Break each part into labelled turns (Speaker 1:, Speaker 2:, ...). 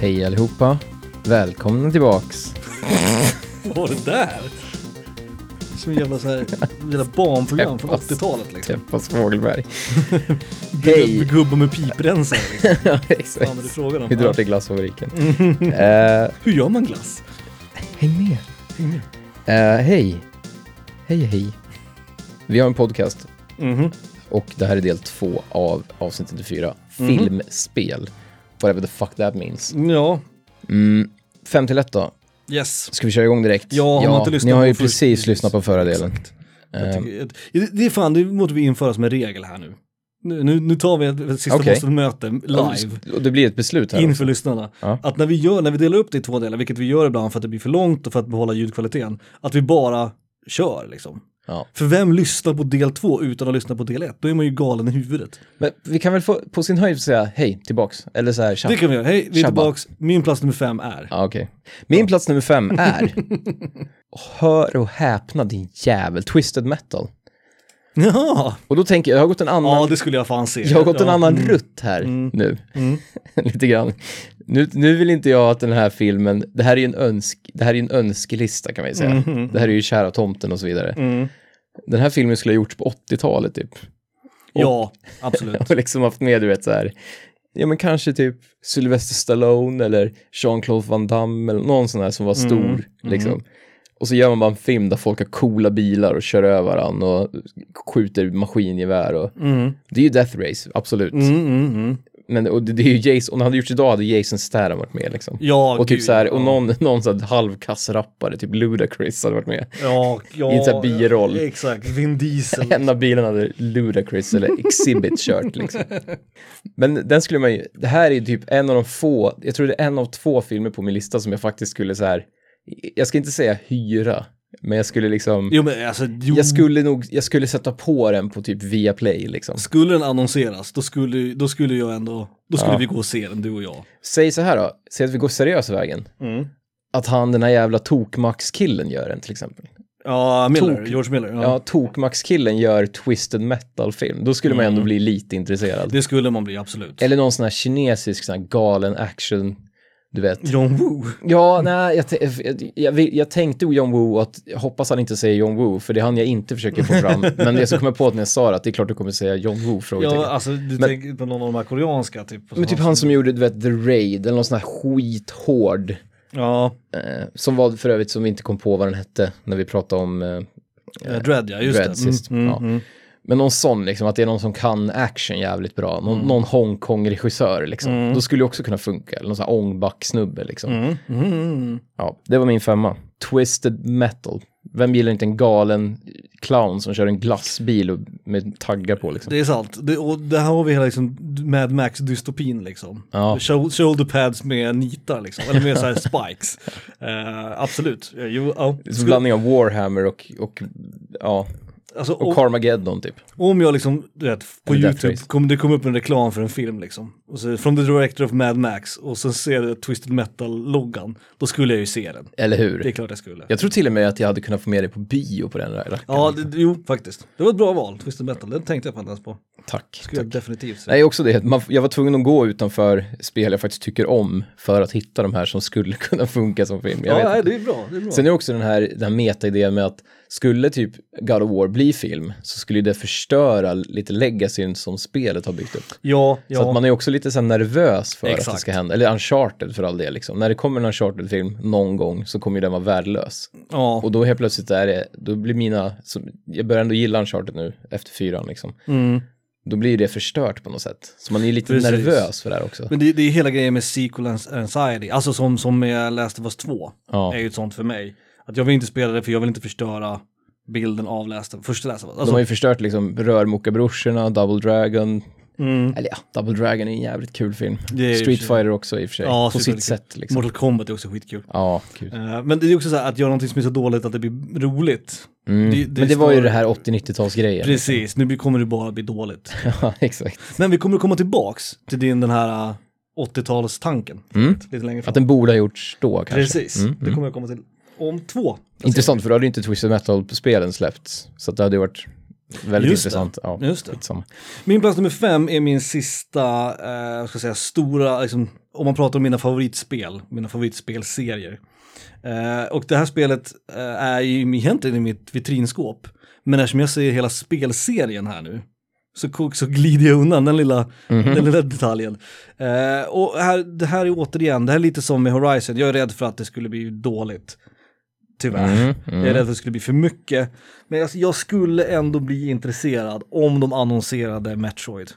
Speaker 1: Hej allihopa! Välkomna tillbaks!
Speaker 2: Vad var det där? Som jävla så här, mina barnprogram från 80-talet liksom.
Speaker 1: Teppas Fågelberg. Hej!
Speaker 2: Gubbar med piprensare liksom.
Speaker 1: Ja,
Speaker 2: Vad fan är det
Speaker 1: exakt.
Speaker 2: frågan om?
Speaker 1: Vi drar till glassfabriken. Eh,
Speaker 2: Hur gör man glass?
Speaker 1: häng med! Eh, hej! Hej hej! Vi har en podcast
Speaker 2: Mhm.
Speaker 1: och det här är del två av avsnitt 34.
Speaker 2: Mhm.
Speaker 1: Filmspel. Whatever the fuck that means.
Speaker 2: Ja,
Speaker 1: Mm, fem till ett då.
Speaker 2: yes.
Speaker 1: Ska vi köra igång direkt?
Speaker 2: Ja, har man inte lyssnat
Speaker 1: ni har
Speaker 2: på
Speaker 1: ju
Speaker 2: först-
Speaker 1: precis lyssnat på förra delen.
Speaker 2: Exakt. Jag
Speaker 1: Ehm.
Speaker 2: tycker, jag- det är fan, det måste vi införa som en regel här nu. Nu, nu, nu tar vi ett, ett sista
Speaker 1: Okej.
Speaker 2: möte live.
Speaker 1: Eh, Och det blir ett beslut här.
Speaker 2: Inför lyssnarna.
Speaker 1: Ja.
Speaker 2: Att när vi, gör, när vi delar upp det i två delar, vilket vi gör ibland för att det blir för långt och för att behålla ljudkvaliteten, att vi bara kör liksom.
Speaker 1: Ja.
Speaker 2: För vem lyssnar på del två utan att lyssna på del ett? Då är man ju galen i huvudet.
Speaker 1: Men vi kan väl få, på sin höjd säga hej tillbaks, eller så här tja.
Speaker 2: Det kan vi göra. Hej, vi är
Speaker 1: Tjabba.
Speaker 2: tillbaks. Min plats nummer fem är.
Speaker 1: Ja, okej. Min plats nummer fem är, hör och häpna din jävel, twisted metal.
Speaker 2: Ja,
Speaker 1: Och då tänker jag, jag har gått en annan,
Speaker 2: ja det Mm. skulle jag fan se.
Speaker 1: jag har gått en
Speaker 2: Ja.
Speaker 1: annan rutt här nu.
Speaker 2: Mm.
Speaker 1: Lite grann. Nu, nu vill inte jag att den här filmen, det här är ju en, önsk, det här är ju en önskelista kan man ju säga.
Speaker 2: Mm.
Speaker 1: Det här är ju Kära tomten och så vidare. Den här filmen skulle ha gjorts på 80-talet typ.
Speaker 2: Ja, absolut.
Speaker 1: och liksom haft med, du vet så här, ja men kanske typ Sylvester Stallone eller Jean-Claude Van Damme eller någon sån här som var
Speaker 2: Mm,
Speaker 1: stor liksom. Och så gör man bara en film där folk har coola bilar och kör över varandra och skjuter maskingevär och det är ju Death Race, absolut.
Speaker 2: Mm, mm, mm.
Speaker 1: Men och det, det är ju Jason, om det hade gjorts idag hade Jason Statham varit med liksom.
Speaker 2: Ja,
Speaker 1: och typ
Speaker 2: gud,
Speaker 1: så här, och
Speaker 2: ja.
Speaker 1: någon, någon sån här halvkass rappare, typ Ludacris hade varit med.
Speaker 2: Ja, ja,
Speaker 1: I en sån här biroll.
Speaker 2: Exakt, Vin Diesel.
Speaker 1: En av bilarna hade Ludacris eller Exhibit kört liksom. Men den skulle man ju, det här är ju typ en av de få, jag tror det är en av två filmer på min lista som jag faktiskt skulle så här, jag ska inte säga hyra, men jag skulle liksom,
Speaker 2: Jo men alltså, jo,
Speaker 1: jag skulle nog, jag skulle sätta på den på typ Viaplay liksom.
Speaker 2: skulle den annonseras, då skulle, då skulle jag ändå, då skulle
Speaker 1: Ja.
Speaker 2: vi gå och se den, du och jag.
Speaker 1: Säg så här då, säg att vi går seriösa vägen. Att han, den här jävla tokmax-killen gör den till exempel.
Speaker 2: Ja, Miller,
Speaker 1: Tok.
Speaker 2: George Miller. Ja.
Speaker 1: Ja, tokmax-killen gör twisted metal-film, då skulle man
Speaker 2: Mm.
Speaker 1: ändå bli lite intresserad.
Speaker 2: Det skulle man bli, absolut.
Speaker 1: Eller någon sån här kinesisk sån här galen action, du vet.
Speaker 2: John Woo.
Speaker 1: Ja, nej, jag, t- jag, jag, vill- jag tänkte o John Woo att jag hoppas han inte säger John Woo, för det är han jag inte försöker få fram. Men det så kom jag på att när jag sa det, att det är klart du kommer säga John Woo,
Speaker 2: Ja,
Speaker 1: frågetecken.
Speaker 2: alltså du
Speaker 1: Men-
Speaker 2: tänker på någon av de här koreanska typ.
Speaker 1: Men typ han som gjorde, du vet, The Raid, eller någon sån här skithård,
Speaker 2: Ja,
Speaker 1: eh, som var för övrigt som vi inte kom på vad den hette när vi pratade om eh,
Speaker 2: eh, Dread ja, just
Speaker 1: Dread
Speaker 2: det. Mm,
Speaker 1: sist. ja. Men någon sån, liksom, att det är någon som kan action jävligt bra,
Speaker 2: Mm.
Speaker 1: någon, någon Hongkong-regissör, liksom. Då skulle det också kunna funka, eller någon sån här ångback-snubbe, liksom.
Speaker 2: Mm,
Speaker 1: Ja, det var min femma. Twisted metal. Vem gillar inte en galen clown som kör en glassbil och med taggar på liksom?
Speaker 2: Det är sant. Det, och det här har vi hela liksom Mad Max-dystopin liksom.
Speaker 1: Ja.
Speaker 2: Shou- Shoulder pads med nitar liksom, eller med så här spikes. Eh, absolut. Eh, Jo, ja.
Speaker 1: Det är en blandning av Warhammer och, och, ja,
Speaker 2: Alltså,
Speaker 1: och
Speaker 2: och,
Speaker 1: Carmageddon typ.
Speaker 2: om jag liksom, du vet, på
Speaker 1: Eller Death
Speaker 2: YouTube,
Speaker 1: Race.
Speaker 2: kom, det kom upp en reklam för en film liksom. Och så, from the director of Mad Max, och sen ser du Twisted Metal-loggan, då skulle jag ju se den.
Speaker 1: Eller
Speaker 2: Det är
Speaker 1: hur?
Speaker 2: klart jag skulle.
Speaker 1: Jag tror till och med att jag hade kunnat få med dig på bio på den där.
Speaker 2: Ja, det, jo, faktiskt. Det var ett bra val, Twisted Metal, den tänkte jag fan inte ens på.
Speaker 1: Tack.
Speaker 2: Skulle jag definitivt säga.
Speaker 1: Nej, också det. Man, jag var tvungen att gå utanför spel jag faktiskt tycker om för att hitta de här som skulle kunna funka som film. Jag vet
Speaker 2: Ja, nej,
Speaker 1: inte.
Speaker 2: det är bra. Det är bra.
Speaker 1: Sen är också den här, den här meta-idén med att skulle typ God of War bli film så skulle det förstöra lite legacyn som spelet har byggt upp.
Speaker 2: ja, ja.
Speaker 1: Så att man är också lite så här nervös för att det
Speaker 2: Exakt.
Speaker 1: ska hända, eller uncharted för all del liksom. När det kommer en uncharted-film någon gång så kommer ju den vara värdelös.
Speaker 2: ja.
Speaker 1: Och då helt plötsligt är det, då blir mina, så, jag börjar ändå gilla Uncharted nu efter fyran liksom. Då blir det förstört på något sätt. Så man är lite
Speaker 2: Mm. Precis.
Speaker 1: nervös för det här också.
Speaker 2: Men det, det är hela grejen med sequel ans- anxiety, alltså som, som med Last of Us 2,
Speaker 1: Ja.
Speaker 2: är ju ett sånt för mig. Att jag vill inte spela det för jag vill inte förstöra bilden av Last of, första Last of Us.
Speaker 1: De
Speaker 2: Alltså,
Speaker 1: har ju förstört liksom Rörmokarbrorsorna, Double Dragon. Eller ja, Double Dragon är en jävligt kul film.
Speaker 2: Mm. Det är i och
Speaker 1: Street
Speaker 2: för sig-
Speaker 1: Fighter också i och för sig,
Speaker 2: Ja,
Speaker 1: på
Speaker 2: Street
Speaker 1: sitt
Speaker 2: Fighter.
Speaker 1: sätt liksom.
Speaker 2: Mortal Kombat är också skitkul.
Speaker 1: Ja, kul.
Speaker 2: Eh, Men det är också så här att göra någonting som är så dåligt att det blir roligt.
Speaker 1: Mm.
Speaker 2: det- det
Speaker 1: Men det var ju
Speaker 2: står-
Speaker 1: det här 80-90-talsgrejen.
Speaker 2: Precis, nu blir- kommer det bara bli dåligt.
Speaker 1: ja, exakt.
Speaker 2: Men vi kommer att komma tillbaks till din den här eh, 80-talstanken. Lite längre fram.
Speaker 1: Att den borde ha gjorts då kanske.
Speaker 2: Precis,
Speaker 1: Mm.
Speaker 2: det kommer jag komma till om två.
Speaker 1: Intressant, för då hade ju inte Twisted Metal-spelen släppts. Så att det hade ju varit Väldigt
Speaker 2: Just det.
Speaker 1: intressant. Ja,
Speaker 2: Just det.
Speaker 1: skitsamma.
Speaker 2: Min plats nummer fem är min sista, eh, vad ska jag säga, stora, liksom, om man pratar om mina favoritspel, mina favoritspelserier. Eh, och det här spelet eh, är ju egentligen i mitt vitrinskåp. Men eftersom jag säger hela spelserien här nu, så, ko- så glider jag undan den lilla, den lilla detaljen. Eh, och här, det här är återigen, det här är lite som med Horizon, jag är rädd för att det skulle bli dåligt. Tyvärr.
Speaker 1: Mm,
Speaker 2: Jag är
Speaker 1: mm.
Speaker 2: rädd för att det skulle bli för mycket. Men alltså, jag, jag skulle ändå bli intresserad om de annonserade Metroid.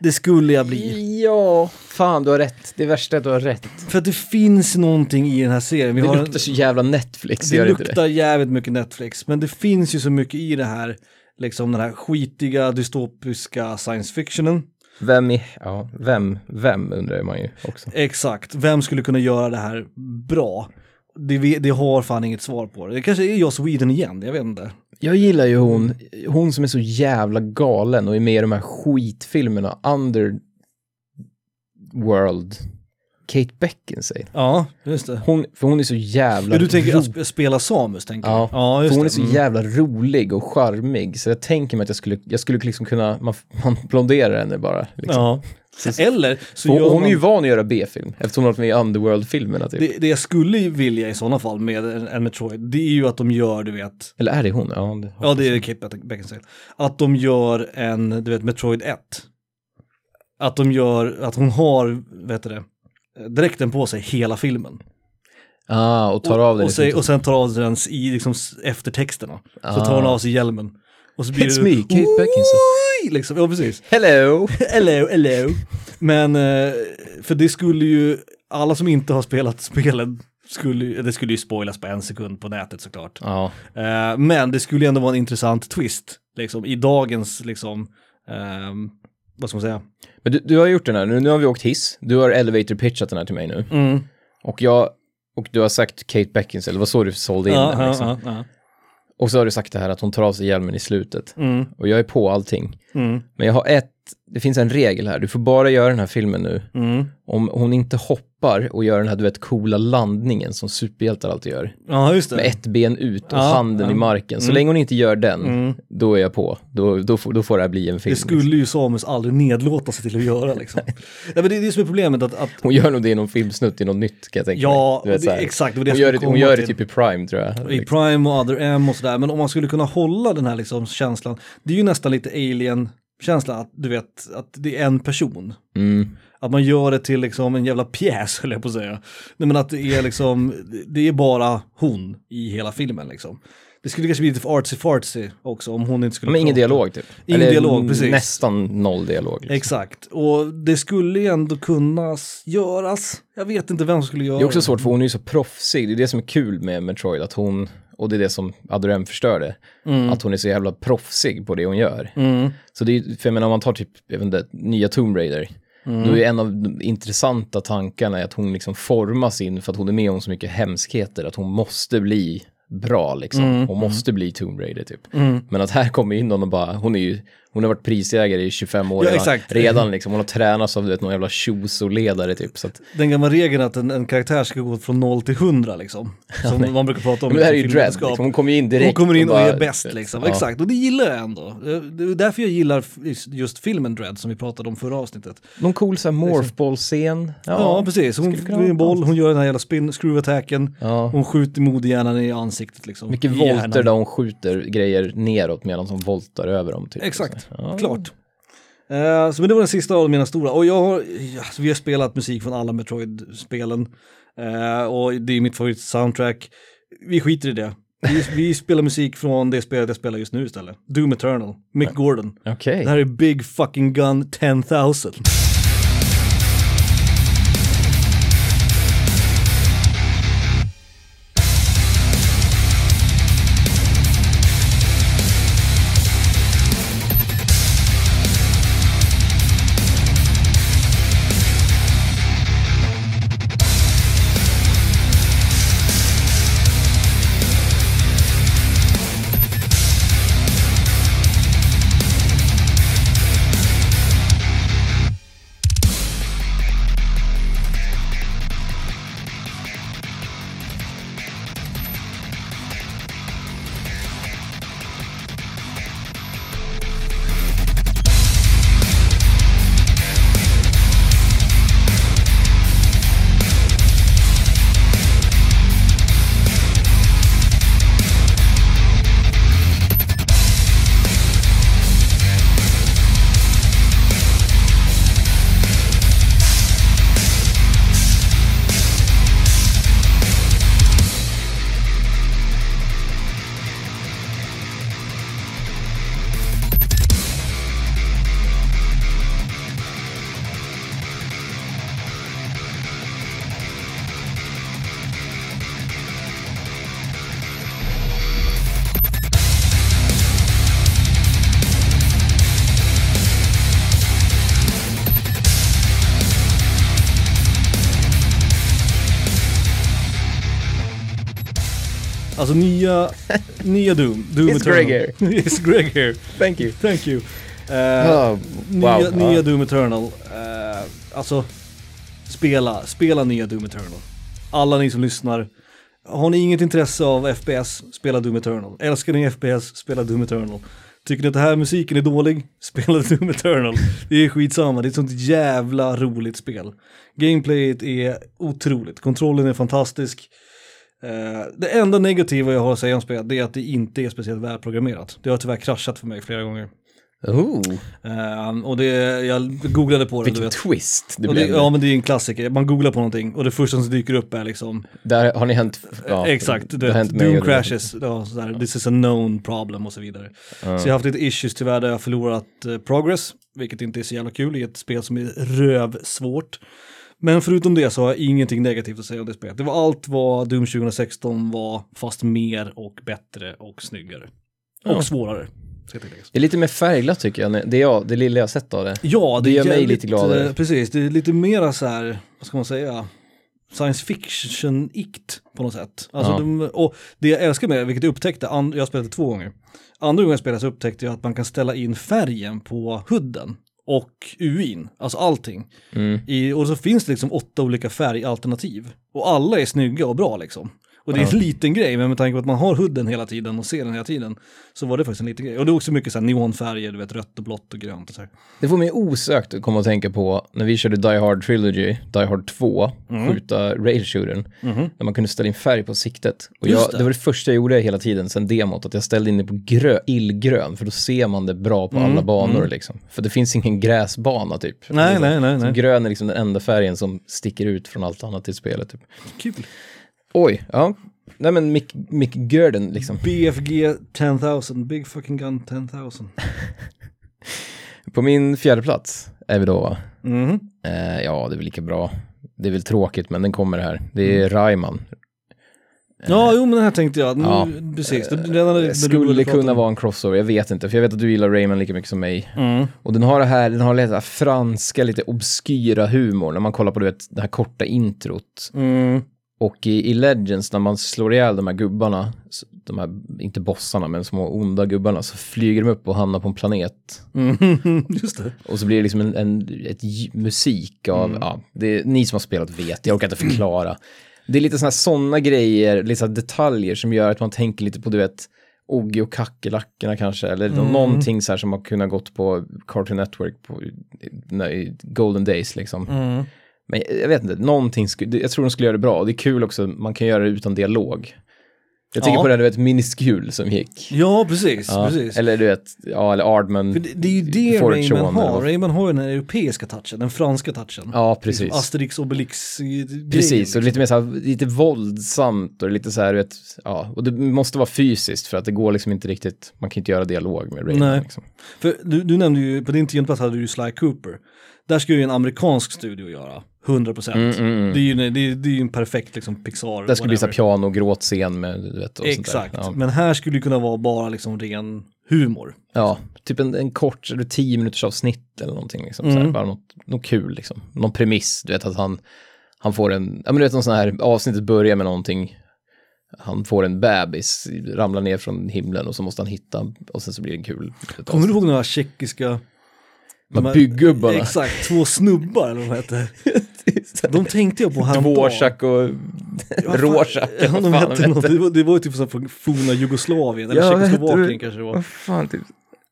Speaker 2: Det skulle jag bli.
Speaker 1: Ja, fan du har rätt. Det värsta är att du har rätt.
Speaker 2: För att det finns någonting i den här serien. Vi
Speaker 1: Det
Speaker 2: har en-
Speaker 1: luktar så jävla Netflix,
Speaker 2: det
Speaker 1: gör inte det?
Speaker 2: luktar jävligt mycket Netflix, men det finns ju så mycket i det här, liksom den här skitiga dystopiska science fictionen.
Speaker 1: Vem, i, ja, vem, vem undrar man ju också.
Speaker 2: Exakt, vem skulle kunna göra det här bra? Det, vi- det har fan inget svar på det. Det kanske är Joss Whedon igen, jag vet inte.
Speaker 1: Jag gillar ju hon, hon som är så jävla galen och är med i de här skitfilmerna, Underworld, Kate Beckinsale.
Speaker 2: Ja, just det.
Speaker 1: Hon, för hon är så jävla
Speaker 2: Ja, du tänker
Speaker 1: ro-
Speaker 2: att sp- spela Samus, tänker
Speaker 1: Ja,
Speaker 2: du? ja
Speaker 1: för
Speaker 2: just
Speaker 1: hon är
Speaker 2: det.
Speaker 1: så
Speaker 2: Mm.
Speaker 1: jävla rolig och charmig, så jag tänker mig att jag skulle, jag skulle liksom kunna, man, man blonderar henne bara. Liksom.
Speaker 2: Ja. Eller så
Speaker 1: Hon,
Speaker 2: gör
Speaker 1: hon är
Speaker 2: man...
Speaker 1: ju van att göra B-film, eftersom hon har varit med i Underworld-filmerna typ.
Speaker 2: det, det jag skulle ju vilja i sådana fall med en, en Metroid, det är ju att de gör, du vet,
Speaker 1: Eller är det hon? Ja, det,
Speaker 2: ja det är Kate Beck- Beckinsale, att de gör en, du vet, Metroid 1. Att de gör, att hon har, vet du det, dräkten på sig hela filmen.
Speaker 1: Ah, och tar av den
Speaker 2: och,
Speaker 1: i
Speaker 2: sen,
Speaker 1: slutet.
Speaker 2: och sen tar av sig den s- i liksom s- eftertexterna. Så tar hon
Speaker 1: Ah.
Speaker 2: av sig hjälmen. Och så blir
Speaker 1: It's
Speaker 2: det,
Speaker 1: me, Kate Beckinsale.
Speaker 2: Oj, liksom, ja precis.
Speaker 1: Hello!
Speaker 2: Hello, hello. Men, eh, för det skulle ju, alla som inte har spelat spelen, skulle, ju- det skulle ju spoilas på en sekund på nätet såklart.
Speaker 1: Ja,
Speaker 2: Eh, Men det skulle ju ändå vara en intressant twist, liksom i dagens, liksom, ehm, vad ska man säga?
Speaker 1: men du, du har gjort den här, nu, nu har vi åkt hiss, du har elevator pitchat den här till mig nu.
Speaker 2: Mm.
Speaker 1: Och jag, och du har sagt Kate Beckinsale, det var så du sålde in den. Liksom.
Speaker 2: ja, ja.
Speaker 1: Och så har du sagt det här att hon tar av sig hjälmen i slutet.
Speaker 2: Mm,
Speaker 1: Och jag är på allting.
Speaker 2: mm,
Speaker 1: Men jag har ett, det finns en regel här, du får bara göra den här filmen nu
Speaker 2: mm.
Speaker 1: om hon inte hoppar och gör den här, du vet, coola landningen som superhjältar alltid gör.
Speaker 2: Ja, just det.
Speaker 1: Med ett ben ut och
Speaker 2: Ja,
Speaker 1: handen
Speaker 2: ja.
Speaker 1: i marken. Så
Speaker 2: Mm.
Speaker 1: länge hon inte gör den,
Speaker 2: Mm.
Speaker 1: då är jag på. Då, då, får, då får det här bli en film. liksom.
Speaker 2: Det skulle ju Samus aldrig nedlåta sig till att göra liksom. Nej, men det det är det som är problemet att, att
Speaker 1: Hon gör nog det i någon filmsnutt i något nytt kan jag tänka
Speaker 2: ja,
Speaker 1: mig. Du vet, så
Speaker 2: det,
Speaker 1: här.
Speaker 2: exakt. Det var det
Speaker 1: Hon
Speaker 2: jag
Speaker 1: gör,
Speaker 2: skulle
Speaker 1: det, hon
Speaker 2: komma
Speaker 1: gör det
Speaker 2: till.
Speaker 1: typ i Prime tror jag.
Speaker 2: I Prime och Other M och sådär, men om man skulle kunna hålla den här liksom känslan, det är ju nästan lite alien-känsla, att du vet, att det är en person.
Speaker 1: Mm.
Speaker 2: Att man gör det till liksom en jävla pjäs, höll jag på att säga. Nej men att det är liksom, det är bara hon i hela filmen liksom. Det skulle kanske bli lite för artsy-fartsy också om hon inte skulle
Speaker 1: Men ingen
Speaker 2: prata.
Speaker 1: dialog typ.
Speaker 2: Ingen dialog, precis.
Speaker 1: Nästan noll dialog. liksom.
Speaker 2: Exakt, och det skulle ju ändå kunna s- göras. Jag vet inte vem som skulle göra
Speaker 1: Det är också svårt för hon är ju så proffsig. Det är det som är kul med Metroid, att hon, och det är det som Adorem förstörde,
Speaker 2: Mm.
Speaker 1: att hon är så jävla proffsig på det hon gör. Så det är ju- för jag menar om man tar typ, jag vet inte, nya Tomb Raider,
Speaker 2: Mm.
Speaker 1: då är ju en av de intressanta tankarna är att hon liksom formas in, för att hon är med om så mycket hemskheter, att hon måste bli bra liksom.
Speaker 2: Mm.
Speaker 1: Hon måste bli Tomb Raider typ. Men att här kommer in någon och bara, hon är ju, hon har varit prisjägare i 25 år
Speaker 2: Ja,
Speaker 1: redan-
Speaker 2: exakt.
Speaker 1: redan liksom. Hon har tränats av du vet, någon jävla tjoso-ledare typ. Så att,
Speaker 2: Den gamla regeln att en, en karaktär ska gå från 0 till 100 liksom. Som man brukar prata om
Speaker 1: Men det här är ju
Speaker 2: liksom,
Speaker 1: Dread,
Speaker 2: filmvetenskap.
Speaker 1: liksom. hon kommer ju in direkt.
Speaker 2: Hon kommer in och,
Speaker 1: bara-
Speaker 2: är bäst liksom,
Speaker 1: Ja.
Speaker 2: exakt. Och det gillar jag ändå. Det är därför jag gillar f- just filmen Dread som vi pratade om förra avsnittet.
Speaker 1: Någon cool såhär morphball-scen.
Speaker 2: Ja, precis. Hon
Speaker 1: skulle kunna vara
Speaker 2: blir en boll, hon gör den här jävla spin, screw attacken,
Speaker 1: Ja.
Speaker 2: hon skjuter modehjärnan i ansiktet liksom.
Speaker 1: Mycket
Speaker 2: I
Speaker 1: volter
Speaker 2: hjärnan.
Speaker 1: där hon skjuter grejer neråt medan hon voltar över dem. Typ.
Speaker 2: Exakt,
Speaker 1: Ja.
Speaker 2: klart. Eh, så men det var den sista av mina stora. Och jag har, ja, så vi har spelat musik från alla Metroid-spelen. Eh, och det är mitt favorit-soundtrack. Vi skiter i det. Vi, vi spelar musik från det spelet jag spelar just nu istället. Doom Eternal, Mick Gordon.
Speaker 1: Okej.
Speaker 2: Det här är Big Fucking Gun 10,000. Alltså nya, nya Doom. Doom
Speaker 1: It's Greg here.
Speaker 2: It's Greg here.
Speaker 1: Thank you.
Speaker 2: Thank you. Eh,
Speaker 1: Ah,
Speaker 2: nya,
Speaker 1: wow.
Speaker 2: nya
Speaker 1: Ja.
Speaker 2: Doom Eternal. Eh, alltså, spela, spela nya Doom Eternal. Alla ni som lyssnar, har ni inget intresse av FPS, spela Doom Eternal. Älskar ni FPS, spela Doom Eternal. Tycker ni att den här musiken är dålig, spela Doom Eternal. Det är skitsamma, det är ett sånt jävla roligt spel. Gameplayet är otroligt, kontrollen är fantastisk. Eh, det enda negativa jag har att säga om spelet det är att det inte är speciellt välprogrammerat. Det har tyvärr kraschat för mig flera gånger.
Speaker 1: Ah. Ooh,
Speaker 2: Ehm, och det, jag googlade på det, du
Speaker 1: vilken
Speaker 2: vet.
Speaker 1: twist det
Speaker 2: Och det,
Speaker 1: blev.
Speaker 2: ja men det är en klassiker, man googlar på någonting och det första som dyker upp är liksom,
Speaker 1: Där har ni hänt... Ja,
Speaker 2: exakt, du
Speaker 1: det har hänt
Speaker 2: vet,
Speaker 1: mig
Speaker 2: Doom
Speaker 1: och det-
Speaker 2: crashes, ja, sådär, this is a known problem och så vidare. Så jag har haft lite issues tyvärr där jag har förlorat eh, progress, vilket inte är så jävla kul i ett spel som är rövsvårt. Men förutom det så har jag ingenting negativt att säga om det spelet. Det var allt vad Doom 2016 var, fast mer och bättre och snyggare. Och
Speaker 1: Ja.
Speaker 2: svårare, ska tilläggas.
Speaker 1: Det är lite mer färgglatt tycker jag, det, är jag, det lilla jag sett av det.
Speaker 2: Ja, det,
Speaker 1: Det
Speaker 2: är
Speaker 1: gör mig
Speaker 2: jävligt,
Speaker 1: lite gladare.
Speaker 2: eh, Precis, det är lite mera så här, vad ska man säga, science fiction-ikt på något sätt. Alltså
Speaker 1: Ja.
Speaker 2: de, och det jag älskar med det, vilket jag upptäckte, and, jag spelade två gånger. Andra gången jag spelade så upptäckte jag att man kan ställa in färgen på hudden och UIn, alltså allting.
Speaker 1: Mm.
Speaker 2: I, och så finns det liksom åtta olika färgalternativ. Och alla är snygga och bra liksom. Och det är en liten grej, men med tanke på att man har hudden hela tiden och ser den hela tiden så var det faktiskt en liten grej. Och det är också mycket så här neonfärger, du vet rött och blått och grönt och så här.
Speaker 1: Det får mig osökt att komma att tänka på när vi körde Die Hard Trilogy, Die Hard 2,
Speaker 2: Mm.
Speaker 1: skjuta railshootern, där man kunde ställa in färg på siktet. Och
Speaker 2: Mhm. Just
Speaker 1: jag,
Speaker 2: det.
Speaker 1: det. var det första jag gjorde hela tiden sen demot, att jag ställde in det på grö, illgrön, för då ser man det bra på alla banor liksom. För det finns ingen gräsbana typ.
Speaker 2: Mm, Nej,
Speaker 1: Liksom,
Speaker 2: nej, nej,
Speaker 1: så
Speaker 2: nej.
Speaker 1: Grön är liksom den enda färgen som sticker ut från allt annat i spelet. Typ.
Speaker 2: Kul.
Speaker 1: Oj, ja. Nej men Mick, Mick Gerden liksom.
Speaker 2: BFG 10000, Big fucking gun 10000.
Speaker 1: Eh. På min fjärde plats är vi då va?
Speaker 2: Mm.
Speaker 1: Eh, ja, det är väl lika bra. Det är väl tråkigt, men den kommer här. Det
Speaker 2: Mm.
Speaker 1: är Rayman.
Speaker 2: Ja, jo men den här tänkte jag. Nu,
Speaker 1: ja.
Speaker 2: Precis, det, redan när
Speaker 1: Det
Speaker 2: du
Speaker 1: skulle
Speaker 2: började prata
Speaker 1: kunna
Speaker 2: om-
Speaker 1: vara en crossover, jag vet inte, för jag vet att du gillar Rayman lika mycket som mig.
Speaker 2: Mm.
Speaker 1: Och den har det här, den har lite här franska, lite obskyra humor, när man kollar på du vet, det här korta introt.
Speaker 2: Mm.
Speaker 1: Och i, i Legends, när man slår ihjäl de här gubbarna, så- de här, inte bossarna, men små onda gubbarna, så flyger de upp och hamnar på en planet.
Speaker 2: Mm. Just det.
Speaker 1: Och så blir det liksom en, en ett j- musik av,
Speaker 2: Mm.
Speaker 1: ja, det, ni som har spelat vet, jag orkar inte förklara. Det är lite sådana såna grejer, lite så här detaljer som gör att man tänker lite på, du vet, Oggy och kackerlackorna kanske, eller
Speaker 2: Mm.
Speaker 1: nå- någonting så här som har kunnat gått på Cartoon Network på när- i Golden Days liksom.
Speaker 2: Mm.
Speaker 1: Men jag, jag vet inte, någonting, sku, det- jag tror de skulle göra det bra, och det är kul också, man kan göra det utan dialog. Jag tänker
Speaker 2: Ja.
Speaker 1: på det här, du vet, Miniskul som gick.
Speaker 2: Ja, precis.
Speaker 1: Ja,
Speaker 2: precis.
Speaker 1: Eller du vet, ja, eller Ardman.
Speaker 2: För det, det är ju det
Speaker 1: Fortune
Speaker 2: Rayman
Speaker 1: eller
Speaker 2: har.
Speaker 1: vad-
Speaker 2: Rayman har ju den här europeiska touchen, den franska touchen. Liksom
Speaker 1: Ja, precis.
Speaker 2: Asterix Obelix eh,
Speaker 1: Precis, och
Speaker 2: grejen.
Speaker 1: lite mer så här, lite våldsamt och lite så här, du vet, ja, och det måste vara fysiskt för att det går liksom inte riktigt, man kan inte göra dialog med Rayman
Speaker 2: Nej.
Speaker 1: liksom.
Speaker 2: För du, du nämnde ju, på din tiondeplats hade du ju Sly Cooper. Där ska ju en amerikansk studio göra, 100%. procent. Det är ju det är, det är ju en perfekt liksom Pixar.
Speaker 1: Mm, Där skulle bli så
Speaker 2: whatever.
Speaker 1: här piano och gråtscen med, du vet, och
Speaker 2: Exakt,
Speaker 1: sånt där.
Speaker 2: men här skulle det kunna vara bara liksom ren humor.
Speaker 1: Ja. ja, typ en, en kort, eller tio minuters avsnitt eller någonting liksom, så
Speaker 2: Mm.
Speaker 1: här, bara något, något kul liksom, någon premiss, du vet att han, han får en, ja men du vet någon sån här, avsnittet börjar med någonting, han får en bebis, ramlar ner från himlen och så måste han hitta, och sen så blir det en kul.
Speaker 2: Kommer du ihåg några tjeckiska...
Speaker 1: De här
Speaker 2: här-
Speaker 1: byggubbarna.
Speaker 2: Exakt, två snubbar eller vad de hette. De tänkte jag på häromdagen.
Speaker 1: Dvorak och
Speaker 2: Vad fan-
Speaker 1: Rorschach.
Speaker 2: Ja, de hette något. Det var, det var ju typ så här från forna Jugoslavien, eller
Speaker 1: Ja, vad hette
Speaker 2: Tjeckoslovakien
Speaker 1: det?
Speaker 2: kanske det var.
Speaker 1: Vad fan, typ.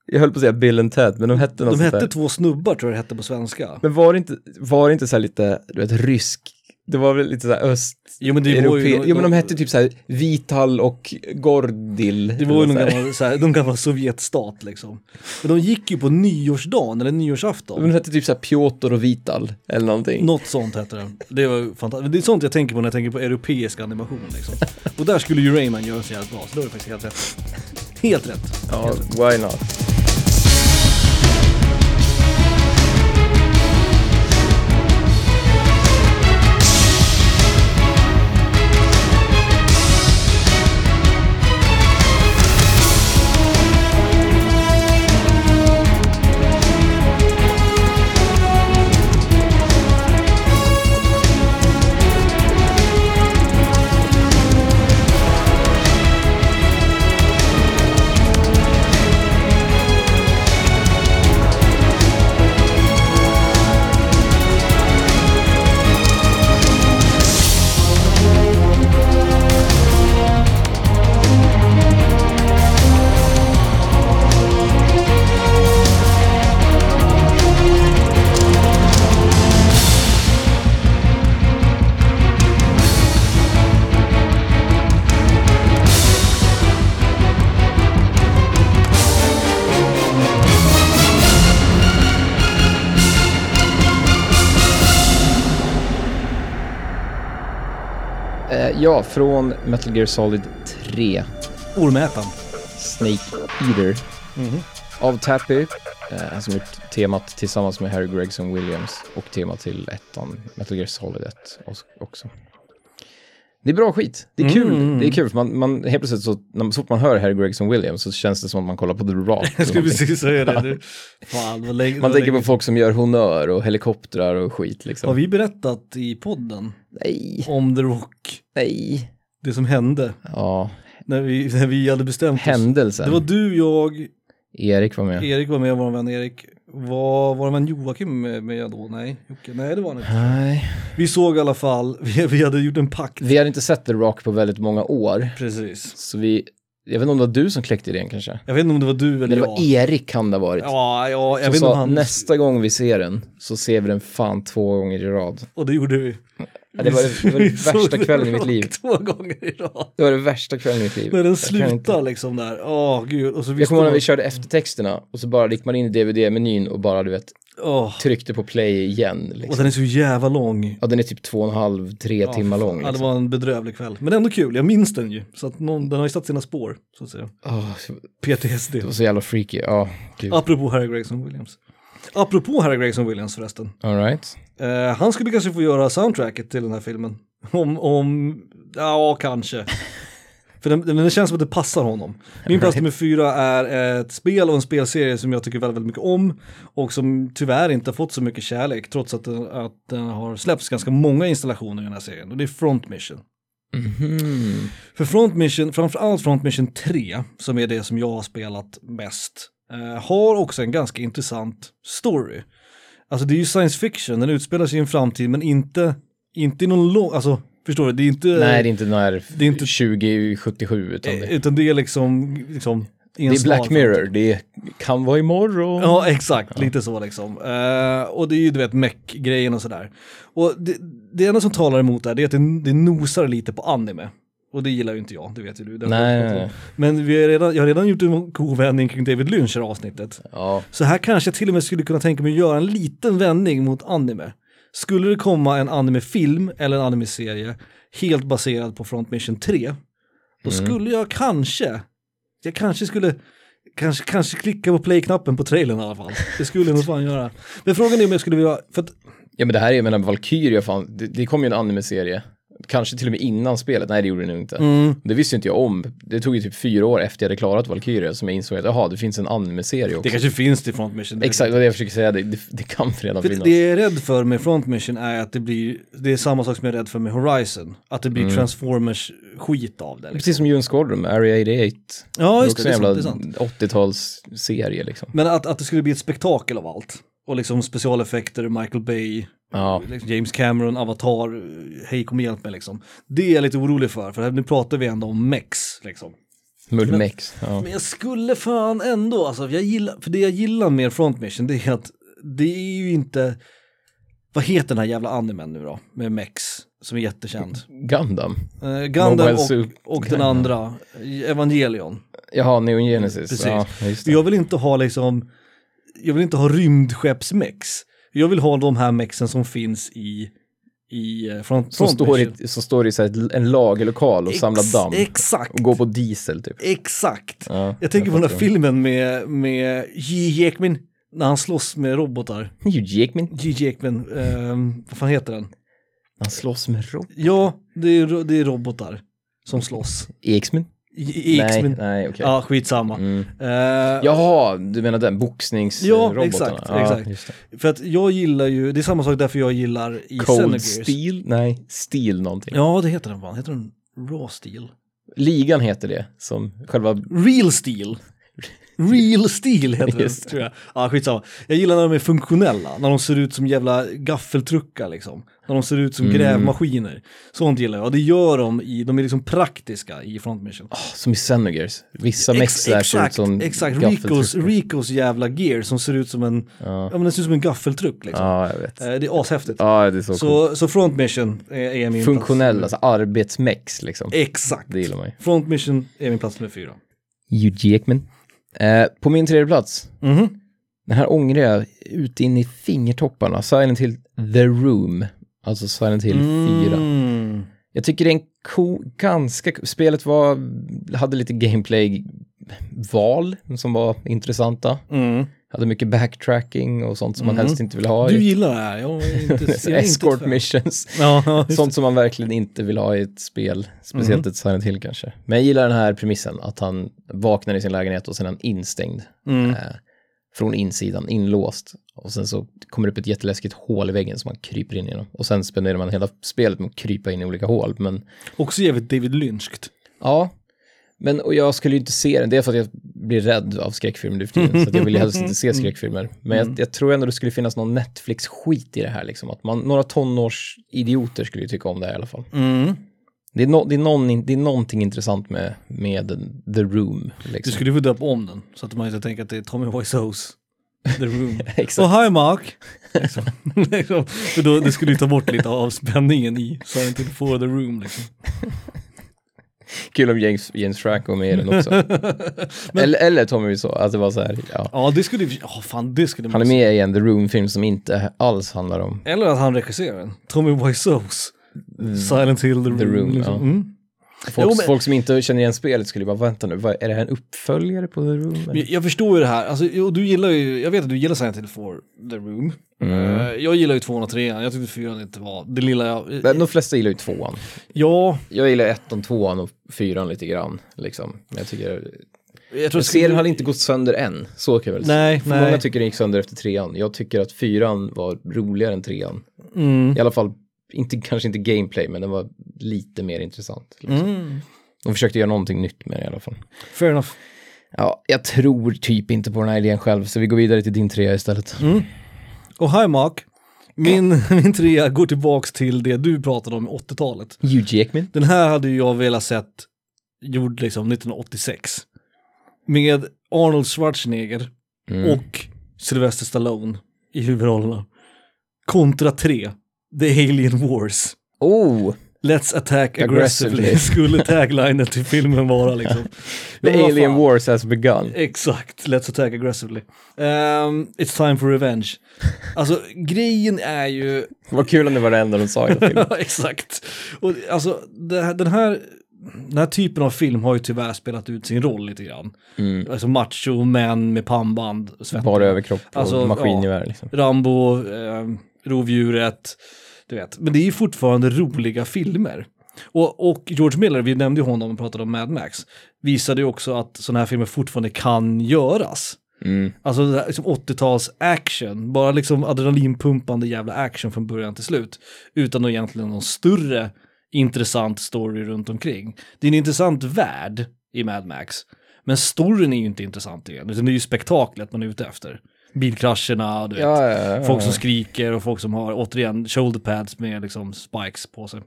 Speaker 1: Jag höll på att säga Bill and Ted, men de hette något
Speaker 2: De
Speaker 1: sånt
Speaker 2: hette
Speaker 1: där.
Speaker 2: två snubbar tror jag det hette på svenska.
Speaker 1: Men var det inte, var det inte så här lite, du vet, rysk? Det var väl lite så här öst...
Speaker 2: Jo men det var ju...
Speaker 1: Europe... Jo men de hette typ så här Vital och Gordil.
Speaker 2: Det var ju
Speaker 1: eller så
Speaker 2: någon
Speaker 1: här.
Speaker 2: gammal, så här, någon gammal sovjetstat liksom. Men de gick ju på nyårsdagen eller nyårsafton.
Speaker 1: Men de hette typ så här Piotr och Vital eller någonting.
Speaker 2: Något sånt hette det. Det var fantastiskt. Det är sånt jag tänker på när jag tänker på europeisk animation liksom. Och där skulle ju Rayman göra sig jävligt bra, så då är det faktiskt helt rätt. Helt rätt.
Speaker 1: Ja, why not? Eh, ja, från Metal Gear Solid 3,
Speaker 2: Ormätaren.
Speaker 1: Snake Eater. Av Tappy, eh, som gjort temat tillsammans med Harry Gregson Williams och tema till ettan, Metal Gear Solid 1 os- också. Det är bra skit. Det är kul.
Speaker 2: Mm.
Speaker 1: Det är kul för man, man, helt plötsligt så, när, så fort man hör Harry Gregson Williams så känns det som att man kollar på The Rock.
Speaker 2: Jag
Speaker 1: eller
Speaker 2: skulle
Speaker 1: någonting.
Speaker 2: precis säga det nu. Fan, vad länge,
Speaker 1: Man
Speaker 2: vad
Speaker 1: tänker på
Speaker 2: länge-
Speaker 1: folk som gör honör och helikoptrar och skit liksom.
Speaker 2: Har vi berättat i podden
Speaker 1: Nej,
Speaker 2: om The Rock?
Speaker 1: nej.
Speaker 2: Det som hände
Speaker 1: Ja,
Speaker 2: när vi, när vi hade bestämt oss.
Speaker 1: händelsen.
Speaker 2: Det var du, jag,
Speaker 1: Erik var med.
Speaker 2: Erik var med, vår vän Erik. Var vår vän Joakim med, med då? Nej, Jocke, nej det var han inte.
Speaker 1: Nej.
Speaker 2: Vi såg i alla fall, vi, vi hade gjort en pakt.
Speaker 1: Vi hade inte sett The Rock på väldigt många år.
Speaker 2: Precis.
Speaker 1: Så vi, jag vet inte om det var du som kläckte idén kanske.
Speaker 2: Jag vet inte om det var du eller
Speaker 1: Men det
Speaker 2: jag.
Speaker 1: var Erik kan det ha varit.
Speaker 2: Ja, ja, jag
Speaker 1: som
Speaker 2: vet inte
Speaker 1: sa,
Speaker 2: om han...
Speaker 1: nästa gång vi ser den så ser vi den fan två gånger i rad.
Speaker 2: Och det gjorde vi.
Speaker 1: Ja, det var- det var den
Speaker 2: Vi såg
Speaker 1: värsta kvällen i mitt
Speaker 2: Rock
Speaker 1: liv.
Speaker 2: Två gånger i rad.
Speaker 1: Det var det värsta kvällen i mitt liv.
Speaker 2: När den
Speaker 1: Jag kan inte-
Speaker 2: slutar liksom där, åh gud. Och så
Speaker 1: Jag
Speaker 2: visste
Speaker 1: kommer ihåg
Speaker 2: man,
Speaker 1: när vi körde eftertexterna och så bara gick man in i DVD-menyn och bara du vet
Speaker 2: åh.
Speaker 1: tryckte på play igen.
Speaker 2: Och
Speaker 1: Liksom.
Speaker 2: den är så jävla lång.
Speaker 1: Ja, den är typ två och en halv, tre timmar lång.
Speaker 2: Ja, det
Speaker 1: Liksom.
Speaker 2: var en bedrövlig kväll. Men ändå kul, jag minns den ju. Så att någon, den har ju satt sina spår, så att säga.
Speaker 1: Åh,
Speaker 2: PTSD.
Speaker 1: det var så jävla freaky. Ja, gud.
Speaker 2: Apropå Harry Gregson Williams. Apropå Harry Gregson Williams förresten.
Speaker 1: All right.
Speaker 2: Eh, han skulle kanske få göra soundtracket till den här filmen. Om, om, ja kanske. För den, den, den känns som att det passar honom. Min plats nummer fyra är ett spel och en spelserie som jag tycker väldigt, väldigt mycket om och som tyvärr inte har fått så mycket kärlek trots att den, att den har släppts ganska många installationer i den här serien och det är Front Mission.
Speaker 1: Mhm.
Speaker 2: För Front Mission, framförallt Front Mission 3, som är det som jag har spelat mest, eh, har också en ganska intressant story. Alltså det är ju science fiction, den utspelar sig i en framtid men inte, inte i någon lång, alltså förstår du, det är inte,
Speaker 1: Nej, det är inte den här
Speaker 2: det är inte-
Speaker 1: 2077 utan det,
Speaker 2: utan det är liksom, liksom i en
Speaker 1: det är
Speaker 2: snar
Speaker 1: Black
Speaker 2: framtid.
Speaker 1: Mirror. Det är, kan vara imorgon.
Speaker 2: Ja, exakt. Lite så liksom. Eh, och det är ju du vet meck-grejen och sådär. Och det, det enda som talar emot det här det är att det, det nosar lite på anime. Och det gillar ju inte jag, det vet ju du. Det har
Speaker 1: Nej,
Speaker 2: jag pratat om.
Speaker 1: nej, nej.
Speaker 2: Men vi har redan, jag har redan gjort en kovändning kring David Lynch i det här avsnittet.
Speaker 1: Ja.
Speaker 2: Så här kanske jag till och med skulle kunna tänka mig att göra en liten vändning mot anime. Skulle det komma en animefilm eller en animeserie helt baserad på Front Mission 3, då skulle jag kanske, jag kanske skulle, kanske, kanske klicka på play-knappen på trailern i alla fall. Det skulle jag nog fan göra. Men frågan är om jag skulle vilja, för att,
Speaker 1: ja, men det här är, jag menar, Valkyria, fan, det, det kom ju en anime-serie. Kanske till och med innan spelet. Nej, det gjorde det nog inte.
Speaker 2: Mm.
Speaker 1: Det visste inte jag om. Det tog ju typ fyra år efter jag hade klarat Valkyria som jag insåg att jaha, det finns en anime-serie också.
Speaker 2: det kanske finns till Front Mission. det vet
Speaker 1: Exakt, det var det jag försöker säga. Det, det, det kan redan
Speaker 2: För
Speaker 1: finnas.
Speaker 2: det jag är rädd för med Front Mission är att det blir, det är samma sak som jag är rädd för med Horizon. Att det blir Transformers-skit av det. Liksom.
Speaker 1: Precis som Dune Squadron med Area 88.
Speaker 2: Ja, just det,
Speaker 1: också
Speaker 2: det är
Speaker 1: en
Speaker 2: sant, det är
Speaker 1: jävla
Speaker 2: sant.
Speaker 1: 80-talsserie liksom.
Speaker 2: Men att, att det skulle bli ett spektakel av allt. Och liksom specialeffekter, Michael Bay,
Speaker 1: Ja,
Speaker 2: liksom James Cameron, Avatar, eh, hej kom och hjälp mig liksom. Det är jag lite orolig för, för här- nu pratar vi ändå om mex liksom.
Speaker 1: Mulmex. Ja.
Speaker 2: Men jag skulle fan ändå, alltså, jag gillar, för det jag gillar med Front Mission det är att det är ju inte, vad heter den här jävla animen nu då, med mex, som är jättekänd?
Speaker 1: Gundam.
Speaker 2: Eh, Gundam
Speaker 1: Mobile Suit
Speaker 2: och, och den andra, Evangelion.
Speaker 1: Jaha, Neon Genesis.
Speaker 2: Precis.
Speaker 1: Ja, just det.
Speaker 2: Jag vill inte ha liksom, jag vill inte ha rymdskeppsmex. Jag vill ha de här mexen som finns i, i eh, front,
Speaker 1: Som
Speaker 2: front
Speaker 1: står
Speaker 2: mission.
Speaker 1: i, som står i så här ett- en lagerlokal och samlar
Speaker 2: Ex-
Speaker 1: damm.
Speaker 2: Exakt,
Speaker 1: Och går på diesel typ.
Speaker 2: exakt.
Speaker 1: Ja,
Speaker 2: jag tänker på den här
Speaker 1: fattar.
Speaker 2: filmen med, med J. Ekman, när han slåss med robotar.
Speaker 1: Ljudgekmin.
Speaker 2: J. Ekman, ehm, vad fan heter den?
Speaker 1: Han slåss med Rob.
Speaker 2: Ja, det är, ro- det är robotar som slåss.
Speaker 1: Eksmin?
Speaker 2: J.
Speaker 1: Nej,
Speaker 2: Ekman.
Speaker 1: nej, okej. Mm.
Speaker 2: Ja, skitsamma. Eh,
Speaker 1: Jaha, du menar den boxningsrobotarna?
Speaker 2: Ja, exakt, exakt.
Speaker 1: just det.
Speaker 2: För att jag gillar ju, det är samma sak därför jag gillar i
Speaker 1: Cold
Speaker 2: Xenogears.
Speaker 1: Steel? Nej, Steel någonting.
Speaker 2: Ja, det heter den fan. Heter den Raw Steel?
Speaker 1: Ligan heter det, som själva...
Speaker 2: Real Steel! Real Steel heter den,
Speaker 1: Just det.
Speaker 2: tror jag. Ja, skitsamma. Jag gillar när de är funktionella, när de ser ut som jävla gaffeltruckar liksom. När de ser ut
Speaker 1: Mm.
Speaker 2: som grävmaskiner. Sånt gillar jag. Och det gör de i, de är liksom praktiska i Front Mission.
Speaker 1: Ah, Som i Xenogears. Vissa
Speaker 2: Ex-
Speaker 1: mexar ser ut
Speaker 2: exakt,
Speaker 1: som
Speaker 2: exakt.
Speaker 1: gaffeltruckar.
Speaker 2: Ricos, Ricos jävla gear som ser ut som en, ja. men den ser ut som en gaffeltruck liksom.
Speaker 1: Ja, jag vet.
Speaker 2: Eh, Det är ashäftigt.
Speaker 1: Ja, det är så, coolt.
Speaker 2: Så, så Front Mission är, är min
Speaker 1: Funktionell, alltså arbetsmex liksom.
Speaker 2: plats. Exakt.
Speaker 1: Det gillar man ju.
Speaker 2: Front Mission är min plats nummer fyra.
Speaker 1: Hugh Jackman. Eh, på min tredje plats.
Speaker 2: Mhm.
Speaker 1: Den här ångrar jag ut in i fingertopparna. Silent Hill The Room. Alltså Silent Hill 4.
Speaker 2: Mm.
Speaker 1: Jag tycker det är en cool, ganska, spelet var, hade lite gameplay-val som var intressanta.
Speaker 2: Mm.
Speaker 1: Hade mycket backtracking och sånt som man helst inte vill ha.
Speaker 2: Du
Speaker 1: i-
Speaker 2: gillar det här, jag är inte, jag är
Speaker 1: Escort
Speaker 2: inte ett fan.
Speaker 1: missions.
Speaker 2: Ja, ja, just Mhm.
Speaker 1: Sånt som man verkligen inte vill ha i ett spel, speciellt ett Silent Hill kanske. Men jag gillar den här premissen, att han vaknar i sin lägenhet och sen är han instängd.
Speaker 2: Mm.
Speaker 1: Eh, från insidan, inlåst. Och sen så kommer det upp ett jätteläskigt hål i väggen som man kryper in genom. Och sen spenderar man hela spelet med att krypa in i olika hål. Men
Speaker 2: Också jävligt David Lynched.
Speaker 1: ja, men och jag skulle ju inte se den. Det är för att jag blir rädd av skräckfilmer nu för tiden. så att jag vill ju helst inte
Speaker 2: Mm.
Speaker 1: se skräckfilmer. Men jag, jag tror ändå det skulle finnas någon Netflix-skit i det här. Liksom. Att man, några tonårsidioter skulle ju tycka om det här i alla fall. Det är, no, det, är någon, in- det är någonting intressant med, med The Room.
Speaker 2: Du
Speaker 1: Liksom.
Speaker 2: skulle få döpa om den så att man inte tänker att det är Tommy Wiseaus The Room.
Speaker 1: Exakt.
Speaker 2: Och hi Mark! Liksom. liksom. För då, det skulle ju ta bort lite av spänningen i Silent Hill 4 The Room. Liksom.
Speaker 1: Kul om James, James Franco är med i den också. eller, eller Tommy Wiseau, att det var så här. Ja.
Speaker 2: Ja, det skulle ju... Ja, fan, det skulle man
Speaker 1: Han är med i en The Room-film som inte alls handlar om
Speaker 2: Eller att han regisserar den. Tommy Wiseaus Silent Hill The Room.
Speaker 1: Mm. The Room.
Speaker 2: liksom.
Speaker 1: Ja.
Speaker 2: Mm.
Speaker 1: Folk,
Speaker 2: Jo, men-
Speaker 1: folk som inte känner igen spelet skulle ju bara, vänta nu, vad, är det här en uppföljare på The Room? eller?"
Speaker 2: Jag, jag förstår ju det här, alltså, och du gillar ju, jag vet att du gillar Silent Hill 4, The Room. Eh, jag gillar ju 203, jag tyckte 4 inte var, det lilla jag...
Speaker 1: Men de flesta gillar ju tvåan.
Speaker 2: ja,
Speaker 1: Jag gillar ettan, tvåan och fyran lite grann. Liksom. Men jag tycker...
Speaker 2: jag tror...
Speaker 1: Serien hade inte gått sönder än, så kan jag väl säga.
Speaker 2: Nej,
Speaker 1: För Många
Speaker 2: nej.
Speaker 1: tycker den gick sönder efter trean. Jag tycker att fyran var roligare än trean.
Speaker 2: Mm.
Speaker 1: I alla fall, inte, kanske inte gameplay, men den var lite mer intressant. Liksom. De försökte göra någonting nytt med det i alla fall.
Speaker 2: Fair enough.
Speaker 1: Ja, jag tror typ inte på den här idén själv, så vi går vidare till din trea istället.
Speaker 2: Och hi Mark, min, min trea går tillbaks till det du pratade om i 80-talet.
Speaker 1: Hugh Jackman.
Speaker 2: Den här hade ju jag velat sett gjord liksom 1986. Med Arnold Schwarzenegger
Speaker 1: Mm.
Speaker 2: och Sylvester Stallone i huvudrollerna. Kontra 3, The Alien Wars.
Speaker 1: Oh!
Speaker 2: Let's attack
Speaker 1: Aggressively.
Speaker 2: aggressively skulle taglinen till filmen vara liksom.
Speaker 1: The
Speaker 2: Men vad
Speaker 1: Alien
Speaker 2: fan.
Speaker 1: Wars has begun.
Speaker 2: Exakt, let's attack aggressively. Ehm, it's time for revenge. Alltså grejen är ju,
Speaker 1: Vad kul om det var det enda de sa i hela filmen.
Speaker 2: Ja, exakt. Och alltså det här, den här den här typen av film har ju tyvärr spelat ut sin roll lite grann.
Speaker 1: Mm.
Speaker 2: Alltså macho män med pannband, svett,
Speaker 1: Bara överkropp och
Speaker 2: Alltså,
Speaker 1: maskingevär liksom.
Speaker 2: Rambo, eh, Rovdjuret, du vet. Men det är ju fortfarande roliga filmer. Och, och George Miller, vi nämnde ju honom och pratade om Mad Max, visade ju också att sådana här filmer fortfarande kan göras.
Speaker 1: Mm.
Speaker 2: Alltså det här, liksom 80-tals action, bara liksom adrenalinpumpande jävla action från början till slut. Utan någon egentligen någon större intressant story runt omkring. Det är en intressant värld i Mad Max. Men storyn är ju inte intressant igen, utan det är ju spektaklet man är ute efter. Bilkrascherna, du vet.
Speaker 1: Ja, ja, ja.
Speaker 2: Folk som skriker och folk som har, återigen, shoulder pads med liksom spikes på sig.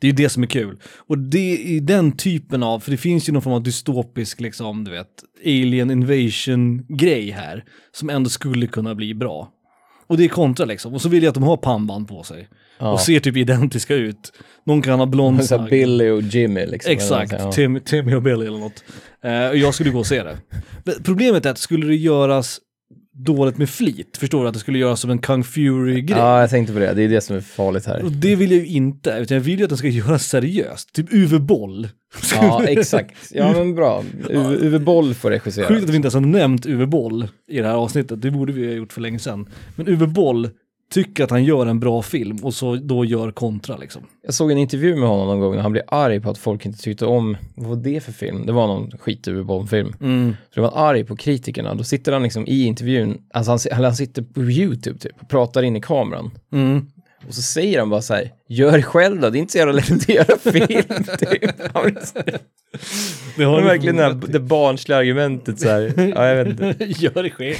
Speaker 2: Det är ju det som är kul. Och det är den typen av, för det finns ju någon form av dystopisk, liksom, du vet, alien invasion-grej här, som ändå skulle kunna bli bra. Och det är kontra liksom. Och så vill jag att de har pannband på sig.
Speaker 1: Ja.
Speaker 2: Och ser typ identiska ut. Någon kan ha blond
Speaker 1: Så här
Speaker 2: snagg.
Speaker 1: Billy och Jimmy liksom.
Speaker 2: Exakt,
Speaker 1: Ja.
Speaker 2: Tim, Timmy och Billy eller något. Eh, och jag skulle gå och se det. Men Problemet är att skulle det göras dåligt med flit, förstår du, att det skulle göras som en Kung Fury-grej.
Speaker 1: Ja, jag tänkte på det. Det är det som är farligt här.
Speaker 2: Och det vill jag ju inte, utan jag vill ju att den ska göras seriöst. Typ Uwe Boll.
Speaker 1: Ja, exakt. Ja, men bra. U- Uwe Boll får regissera.
Speaker 2: Sjukt att vi inte ens har nämnt Uwe Boll i det här avsnittet, det borde vi ha gjort för länge sedan. Men Uwe Boll tycker att han gör en bra film och så då gör kontra liksom.
Speaker 1: Jag såg en intervju med honom någon gång när han blev arg på att folk inte tyckte om, vad var det för film? Det var någon skit Uwe film Så då var han arg på kritikerna. Då sitter han liksom i intervjun, alltså han, si- eller han sitter på YouTube typ och pratar in i kameran. Och så säger han bara så här, gör det själv då, det är inte så jävla lätt att göra film. typ. Han
Speaker 2: Det har
Speaker 1: har
Speaker 2: vi
Speaker 1: verkligen det, här,
Speaker 2: förmodat.
Speaker 1: det barnsliga argumentet så här, ja jag vet inte.
Speaker 2: Gör det själv.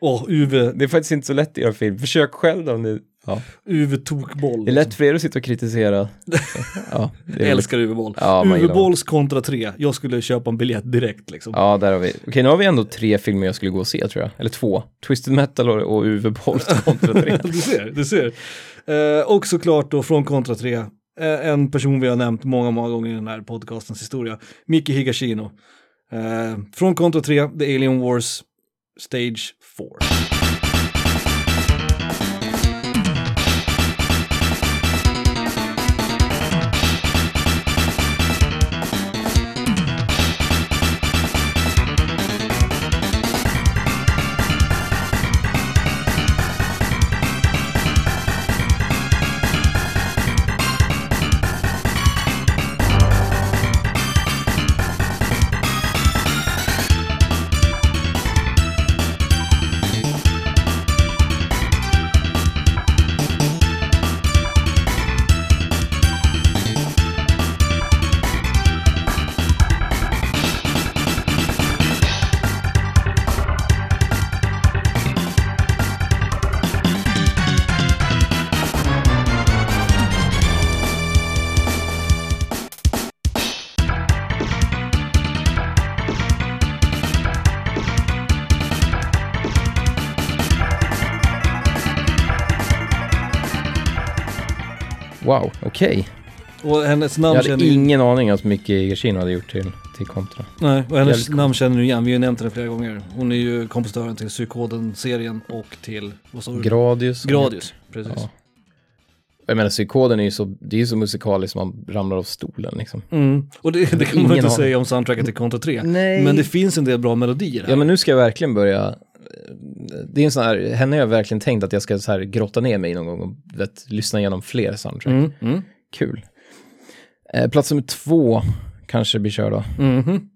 Speaker 2: Åh, Uwe,
Speaker 1: Det är faktiskt inte så lätt att göra film, försök själv då om det, ja.
Speaker 2: Uwe Tokboll.
Speaker 1: Det är lätt för er att sitta och kritisera. Ja, det
Speaker 2: Jag
Speaker 1: är väl-
Speaker 2: älskar Uwe Boll.
Speaker 1: Ja, man
Speaker 2: Uwe
Speaker 1: gillar
Speaker 2: Bolls kontra 3. Jag skulle köpa en biljett direkt liksom.
Speaker 1: Ja, där har vi. Okej, nu har vi ändå tre filmer jag skulle gå och se tror jag. Eller två. Twisted Metal och, och Uwe Boll kontra tre.
Speaker 2: Du ser, du ser. Eh, och såklart då från kontra 3, eh, en person vi har nämnt många, många gånger i den här podcastens historia, Miki Higashino. Eh, från kontra 3, The Alien Wars, Stage 4.
Speaker 1: Wow, okej.
Speaker 2: Och hennes
Speaker 1: Jag
Speaker 2: namn
Speaker 1: hade
Speaker 2: känner ju-
Speaker 1: ingen aning om att Micke Gersino hade gjort till, till kontra.
Speaker 2: Nej, och hennes
Speaker 1: Jävligt
Speaker 2: namn känner du igen. Vi har ju nämnt henne flera gånger. Hon är ju kompositören till Psykoden-serien och till, vad sa du?
Speaker 1: Gradius.
Speaker 2: Mm. Gradius. Precis.
Speaker 1: Ja. Jag menar, psykoden är ju så, det är ju så musikaliskt man ramlar av stolen liksom.
Speaker 2: Mm. Och det, det kan man
Speaker 1: Ingen
Speaker 2: inte
Speaker 1: aning.
Speaker 2: säga om soundtracket till Contra 3.
Speaker 1: Nej.
Speaker 2: Men det finns en del bra melodier här.
Speaker 1: Ja men nu ska jag verkligen börja, det är en sån här, henne har jag verkligen tänkt att jag ska så här grotta ner mig i någon gång och vet, lyssna igenom fler soundtrack.
Speaker 2: Mm. Mm.
Speaker 1: Kul. Eh, plats nummer två kanske blir kör då.
Speaker 2: Mhm.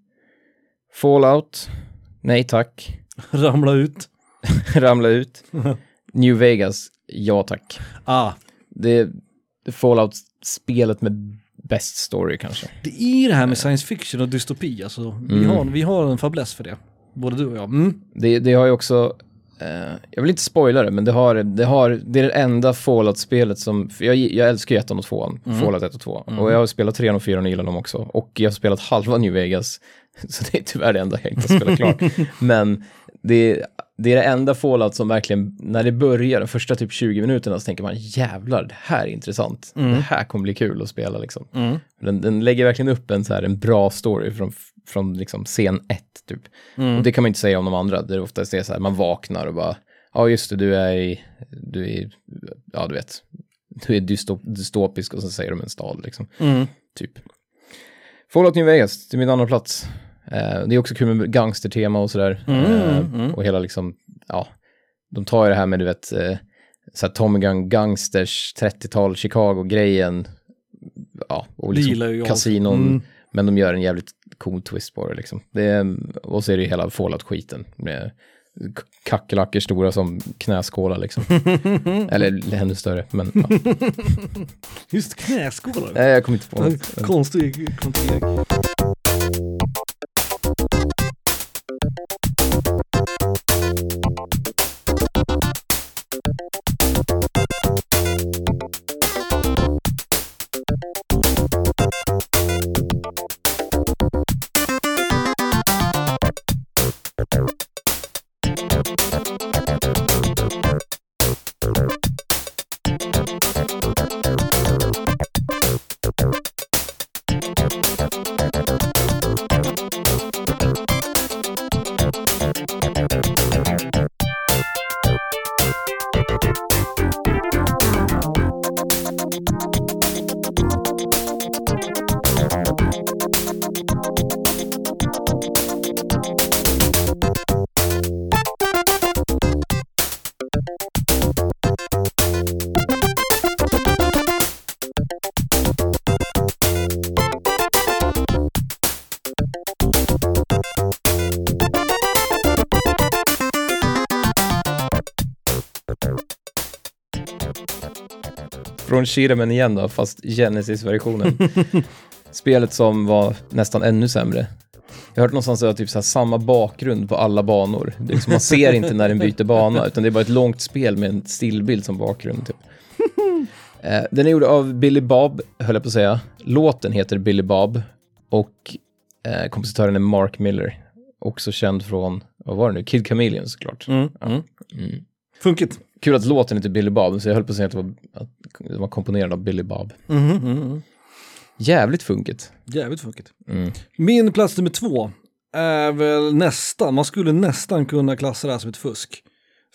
Speaker 1: Fallout, nej tack.
Speaker 2: Ramla ut.
Speaker 1: Ramla ut. New Vegas, ja tack.
Speaker 2: Ah,
Speaker 1: Det är Fallout-spelet med bäst story kanske.
Speaker 2: det är det här med science fiction och dystopi alltså. Vi, har, vi har en fäbless för det. Både du och jag. Mm.
Speaker 1: Det, det har ju också, eh, jag vill inte spoila det, men det, har, det, har, det är det enda Fallout-spelet som, för jag, jag älskar ju ettan och tvåan, Fallout 1 och 2. Och jag har spelat trean och fyran och gillar dem också. Och jag har spelat halva New Vegas, så det är tyvärr det enda jag inte har spelat klart. Men det, är- det är det enda Fallout som verkligen, när det börjar, de första typ 20 minuterna, så tänker man jävlar, det här är intressant. Det här kommer bli kul att spela liksom. Den, den lägger verkligen upp en, så här, en bra story från, från liksom scen 1 typ. Och det kan man inte säga om de andra, där det oftast är så här, man vaknar och bara, ja just det, du är i, du är, i- ja du vet, du är dystop, dystopisk och så säger de en stad liksom.
Speaker 2: Mm.
Speaker 1: Typ. Fallout New Vegas, det är min andra plats. Eh, det är också kul med gangstertema och sådär.
Speaker 2: Mm,
Speaker 1: Eh, Och hela liksom, ja, de tar ju det här med du vet, eh, så här Tommy Gun Gangsters 30-tal Chicago-grejen. Ja, och
Speaker 2: Det gillar ju
Speaker 1: liksom
Speaker 2: jag. Mm.
Speaker 1: kasinon. Men de gör en jävligt cool twist på det liksom. Det är, och så är det ju hela Fallout-skiten med k- kackerlackor stora som knäskålar liksom. Eller ännu större, men ja.
Speaker 2: Just knäskålar.
Speaker 1: Nej, jag kommer inte på något.
Speaker 2: Konstig konstig-
Speaker 1: Från Shiramen igen då, fast Genesis-versionen. Spelet som var nästan ännu sämre. Jag har hört någonstans att det var typ så här samma bakgrund på alla banor. Det är liksom, man ser inte när den byter bana, utan det är bara ett långt spel med en stillbild som bakgrund. Typ. Eh, Den är gjord av Billy Bob, höll jag på att säga. Låten heter Billy Bob och eh, kompositören är Mark Miller. Också känd från, vad var det nu, Kid Chameleon såklart.
Speaker 2: Mm. Mm. Funkigt.
Speaker 1: Kul att låten heter Billy Bob, så jag höll på att säga att det var, att det var komponerad av Billy Bob.
Speaker 2: Mhm, mhm, mhm.
Speaker 1: Jävligt funkigt.
Speaker 2: Jävligt funkigt.
Speaker 1: Mm.
Speaker 2: Min plats nummer två är väl nästan, man skulle nästan kunna klassa det här som ett fusk.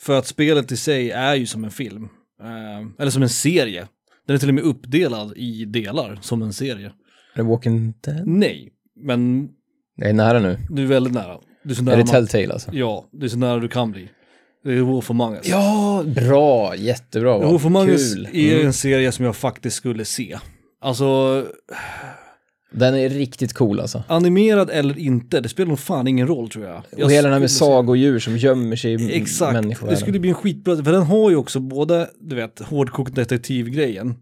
Speaker 2: För att spelet i sig är ju som en film. Eh, eller som en serie. Den är till och med uppdelad i delar som en serie.
Speaker 1: Är det Walking Dead?
Speaker 2: Nej, men
Speaker 1: Jag är nära nu.
Speaker 2: du är väldigt nära. Du är så
Speaker 1: Är
Speaker 2: nära,
Speaker 1: det
Speaker 2: man,
Speaker 1: Telltale alltså?
Speaker 2: ja, du är så nära du kan bli. Det är Wolf Among Us.
Speaker 1: Ja, bra, jättebra. Val.
Speaker 2: Wolf Among Us
Speaker 1: Kul.
Speaker 2: är
Speaker 1: Mm.
Speaker 2: en serie som jag faktiskt skulle se. Alltså,
Speaker 1: Den är riktigt cool alltså.
Speaker 2: animerad eller inte, det spelar nog fan ingen roll tror jag. jag
Speaker 1: Och hela den här med
Speaker 2: skulle se-
Speaker 1: sagodjur som gömmer sig i
Speaker 2: Exakt, det
Speaker 1: människovärlden.
Speaker 2: skulle bli en skitbra, för den har ju också både, du vet, hårdkokt detektivgrejen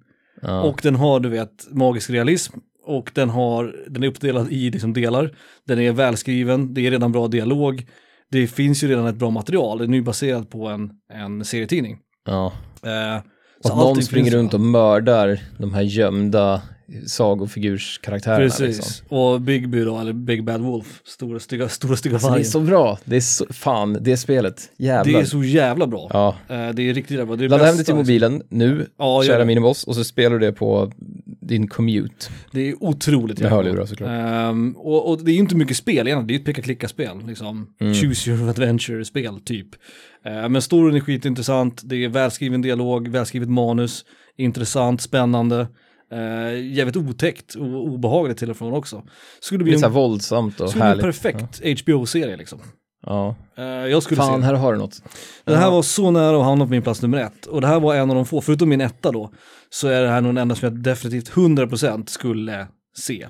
Speaker 1: Ja.
Speaker 2: och den har, du vet, magisk realism och den, har, den är uppdelad i liksom delar. Den är välskriven, det är redan bra dialog, det finns ju redan ett bra material, den är ju baserad på en, en serietidning.
Speaker 1: ja.
Speaker 2: Eh,
Speaker 1: Och
Speaker 2: så
Speaker 1: att
Speaker 2: allting
Speaker 1: någon springer
Speaker 2: finns
Speaker 1: runt
Speaker 2: redan.
Speaker 1: och mördar de här gömda sagofigurskaraktärerna.
Speaker 2: Precis,
Speaker 1: Liksom.
Speaker 2: och Bigby då, eller Big Bad Wolf, stora stygga, stora stygga
Speaker 1: Alltså, det är
Speaker 2: vargen.
Speaker 1: så bra. Det är så, fan, det spelet. Jävlar.
Speaker 2: Det är så jävla bra.
Speaker 1: Ja.
Speaker 2: Eh, Det är riktigt jävla bra. Det är
Speaker 1: Ladda hem
Speaker 2: bästa,
Speaker 1: det till mobilen nu,
Speaker 2: Ja, gör
Speaker 1: kära
Speaker 2: det.
Speaker 1: miniboss, och så spelar du det på din commute.
Speaker 2: liksom. Det är otroligt
Speaker 1: Med
Speaker 2: jävla
Speaker 1: hörlurar såklart.
Speaker 2: Ehm, och, och det är ju inte mycket spel egentligen, det är ju ett peka-klicka-spel. Liksom.
Speaker 1: Mm.
Speaker 2: Choose your adventure-spel typ. Eh, men storyn är skitintressant, det är välskriven dialog, välskrivet manus, intressant, spännande, uh, jävligt otäckt och obehagligt till och från också. Skulle bli
Speaker 1: Det är
Speaker 2: en,
Speaker 1: så här våldsamt och
Speaker 2: skulle bli en
Speaker 1: härligt.
Speaker 2: perfekt HBO-serie liksom.
Speaker 1: Ja.
Speaker 2: Eh, jag skulle se
Speaker 1: Fan,
Speaker 2: det.
Speaker 1: här har du något.
Speaker 2: Det här var så nära att hamna på min plats nummer ett. Och det här var en av de få, förutom min etta då, så är det här nog den enda som jag definitivt 100% skulle se.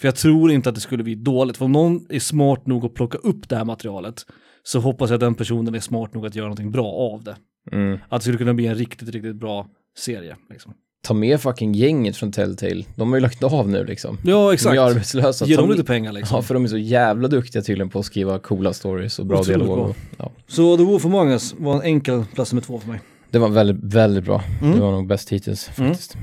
Speaker 2: För jag tror inte att det skulle bli dåligt. För om någon är smart nog att plocka upp det här materialet så hoppas jag att den personen är smart nog att göra någonting bra av det.
Speaker 1: Mm.
Speaker 2: Att det skulle kunna bli en riktigt, riktigt bra serie. Liksom.
Speaker 1: Ta med fucking gänget från Telltale. De har ju lagt av nu liksom.
Speaker 2: Ja,
Speaker 1: De är
Speaker 2: exakt.
Speaker 1: arbetslösa.
Speaker 2: Ge
Speaker 1: Ta
Speaker 2: dem
Speaker 1: med-
Speaker 2: lite pengar liksom.
Speaker 1: Ja, för de är så jävla duktiga tydligen på att skriva coola stories och bra
Speaker 2: Otroligt
Speaker 1: dialog.
Speaker 2: bra.
Speaker 1: och- Ja.
Speaker 2: Så The Wolf Among Us var en enkel plats nummer två för mig.
Speaker 1: Det var väldigt, väldigt bra.
Speaker 2: Mm.
Speaker 1: Det var nog bäst hittills faktiskt.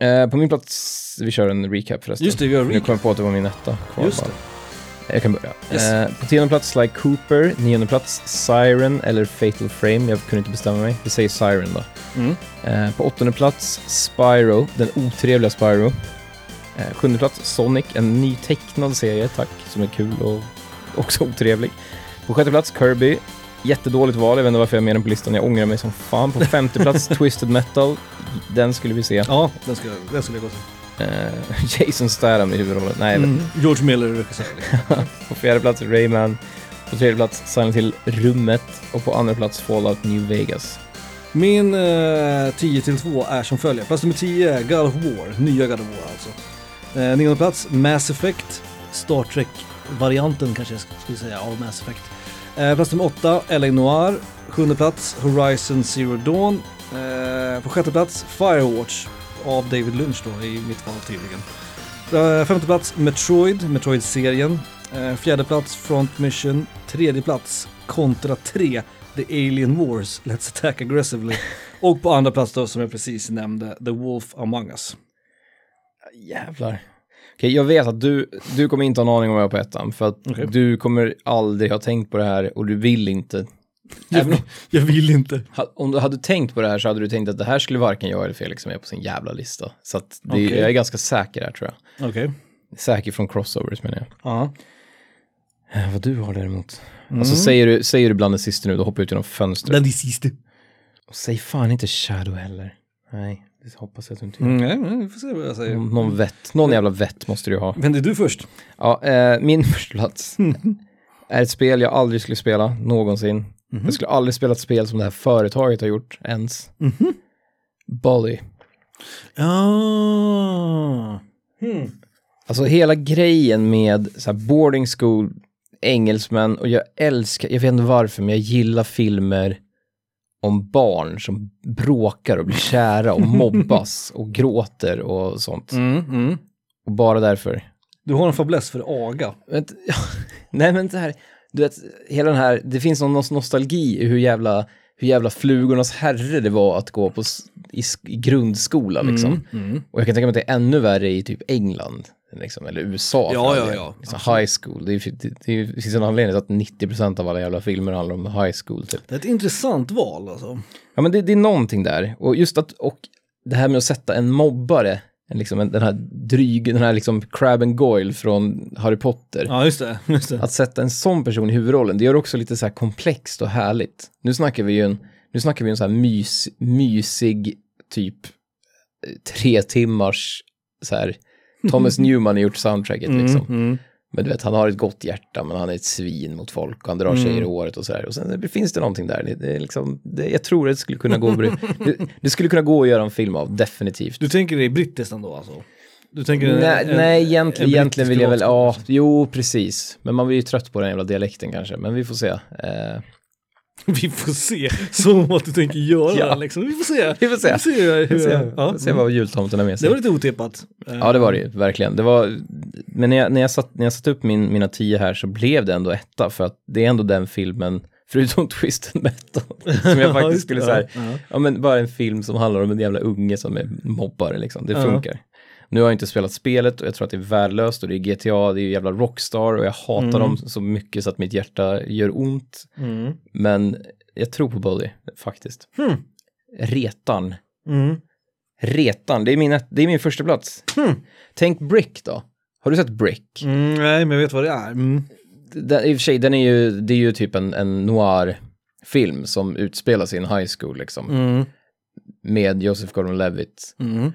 Speaker 1: Eh, på min plats, vi kör en recap förresten.
Speaker 2: Just det, vi gör
Speaker 1: Nu
Speaker 2: recap.
Speaker 1: kom jag på att det var min etta kvar
Speaker 2: Just
Speaker 1: bara. Jag kan börja.
Speaker 2: Yes.
Speaker 1: Eh, på tionde plats Sly Cooper, nionde plats Siren eller Fatal Frame, jag kunde inte bestämma mig. Vi säger Siren då.
Speaker 2: Mm.
Speaker 1: Eh, på åttonde plats Spyro, den otrevliga Spyro. Eh, sjunde plats Sonic, en ny tecknad serie, tack, som är kul och också otrevlig. På sjätte plats Kirby, jättedåligt val, jag vet inte varför jag är med den på listan, jag ångrar mig som fan. På femte plats Twisted Metal, den skulle vi se.
Speaker 2: Ja, den skulle, den skulle jag gå till.
Speaker 1: Eh, Jason Statham i huvudrollen, nej jag vet
Speaker 2: Mm. George Miller regissör. Liksom.
Speaker 1: På fjärde plats Rayman. På tredje plats Silent Hill Rummet. Och på andra plats Fallout New Vegas.
Speaker 2: Min eh, 10 till 2 är som följer. Plats nummer 10, God of War. Nya God of War alltså. Eh, nionde plats, Mass Effect. Star Trek-varianten kanske jag sk- skulle säga av Mass Effect. Eh, plats nummer 8, LA Noir. Sjunde plats, Horizon Zero Dawn. Eh, på sjätte plats, Firewatch. Av David Lynch då, i mitt fall tydligen. Eh, femte plats, Metroid, Metroid-serien. Eh, fjärde plats, Front Mission. Tredje plats, Contra 3, The Alien Wars, Let's Attack Aggressively. Och på andra plats då, som jag precis nämnde, The Wolf Among Us.
Speaker 1: Jävlar. Okej, jag vet att du, du kommer inte ha en aning om vad jag har på ettan. För att
Speaker 2: Okej.
Speaker 1: du kommer aldrig ha tänkt på det här och du vill inte. Även om,
Speaker 2: Jag vill inte.
Speaker 1: ha- om du hade tänkt på det här så hade du tänkt att det här skulle varken jag eller Felix som är på sin jävla lista. Så att det,
Speaker 2: Okej.
Speaker 1: jag är ganska säker där tror jag.
Speaker 2: Okej.
Speaker 1: Säker från crossovers menar jag.
Speaker 2: Ja.
Speaker 1: Eh, Vad du har däremot. Alltså säger du, säger du bland det sista nu, då hoppar jag ut genom fönstret.
Speaker 2: Den sista.
Speaker 1: Och säg fan inte Shadow heller. Nej, det hoppas jag att du inte gör.
Speaker 2: Mm, nej, men vi får se vad jag säger.
Speaker 1: Någon, någon vett, någon jävla vett måste du ju ha.
Speaker 2: Vänder du först?
Speaker 1: Ja, eh, min första plats är ett spel jag aldrig skulle spela någonsin. Jag skulle aldrig spela ett spel som det här företaget har gjort ens. Bully.
Speaker 2: Ja.
Speaker 1: Alltså hela grejen med så här boarding school, engelsmän och jag älskar, jag vet inte varför, men jag gillar filmer om barn som bråkar och blir kära och mobbas och gråter och sånt.
Speaker 2: Mm, mm.
Speaker 1: Och bara därför.
Speaker 2: Du har en fäbless för aga.
Speaker 1: Vet, nej men det här, du vet, hela den här, det finns någon nos- nostalgi i hur jävla, hur jävla flugornas herre det var att gå på s- i, sk- i grundskola
Speaker 2: Mm.
Speaker 1: liksom. Och jag kan tänka mig att det är ännu värre i typ England, liksom, eller USA. för
Speaker 2: Ja,
Speaker 1: all
Speaker 2: ja,
Speaker 1: del.
Speaker 2: ja,
Speaker 1: Liksom high school, det, är, det, det finns en anledning till att 90% av alla jävla filmer handlar om high school typ.
Speaker 2: Det är ett intressant val alltså.
Speaker 1: Ja men det, det är någonting där, och just att, och det här med att sätta en mobbare, en liksom en, den här dryg, den här liksom Crab and Goyle från Harry Potter.
Speaker 2: Ja, just det. Just det.
Speaker 1: Att sätta en sån person i huvudrollen, det gör det också lite så här komplext och härligt. Nu snackar vi ju en, nu snackar vi en så här mys, mysig typ eh, tre timmars så här, Thomas Newman har gjort soundtracket liksom.
Speaker 2: Mm.
Speaker 1: Men du vet, han har ett gott hjärta, men han är ett svin mot folk och han drar tjejer
Speaker 2: Mm.
Speaker 1: i håret och så här. Och sen det- finns det någonting där, det, det är liksom, det, jag tror det skulle kunna gå, att bry- det, det skulle kunna gå att göra en film av, definitivt.
Speaker 2: Du tänker dig brittiskt ändå alltså? Du tänker en-
Speaker 1: Nej,
Speaker 2: en-
Speaker 1: nej
Speaker 2: en
Speaker 1: egentligen,
Speaker 2: brittisk
Speaker 1: egentligen vill jag väl,
Speaker 2: privatskola.
Speaker 1: ja, jo precis. Men man blir ju trött på den jävla dialekten kanske, men vi får se. Eh,
Speaker 2: Vi får se, som att du tänker göra
Speaker 1: Ja.
Speaker 2: liksom. Vi får se.
Speaker 1: Vi får se.
Speaker 2: hur,
Speaker 1: vi får se,
Speaker 2: ja.
Speaker 1: vi får se vad jultomten har med
Speaker 2: Det
Speaker 1: sig.
Speaker 2: var lite otippat. Eh,
Speaker 1: Ja, det var det ju, verkligen. Det var, men när jag, när jag, satt, när jag satt upp min, mina tio här så blev det ändå etta, för att det är ändå den filmen, förutom Twisted Metal, som jag
Speaker 2: Ja,
Speaker 1: faktiskt
Speaker 2: just
Speaker 1: skulle
Speaker 2: det.
Speaker 1: säga,
Speaker 2: Ja, ja.
Speaker 1: ja men bara en film som handlar om en jävla unge som är mobbare liksom, det
Speaker 2: Ja.
Speaker 1: funkar. Nu har jag inte spelat spelet och jag tror att det är värdelöst och det är GTA, det är ju jävla Rockstar och jag hatar
Speaker 2: Mm.
Speaker 1: dem så mycket så att mitt hjärta gör ont.
Speaker 2: Eh,
Speaker 1: Men jag tror på Buddy, faktiskt.
Speaker 2: Hmm.
Speaker 1: Retan.
Speaker 2: Mm.
Speaker 1: Retan, det är min, ett- det är min första plats.
Speaker 2: Hmm.
Speaker 1: Tänk Brick då. Har du sett Brick?
Speaker 2: Mm, nej, men jag vet vad det är. Mm.
Speaker 1: Den, I och för sig, den är ju, det är ju typ en, en noir-film som utspelar sig i en high school liksom.
Speaker 2: Mm.
Speaker 1: Med Joseph Gordon-Levitt.
Speaker 2: Mm.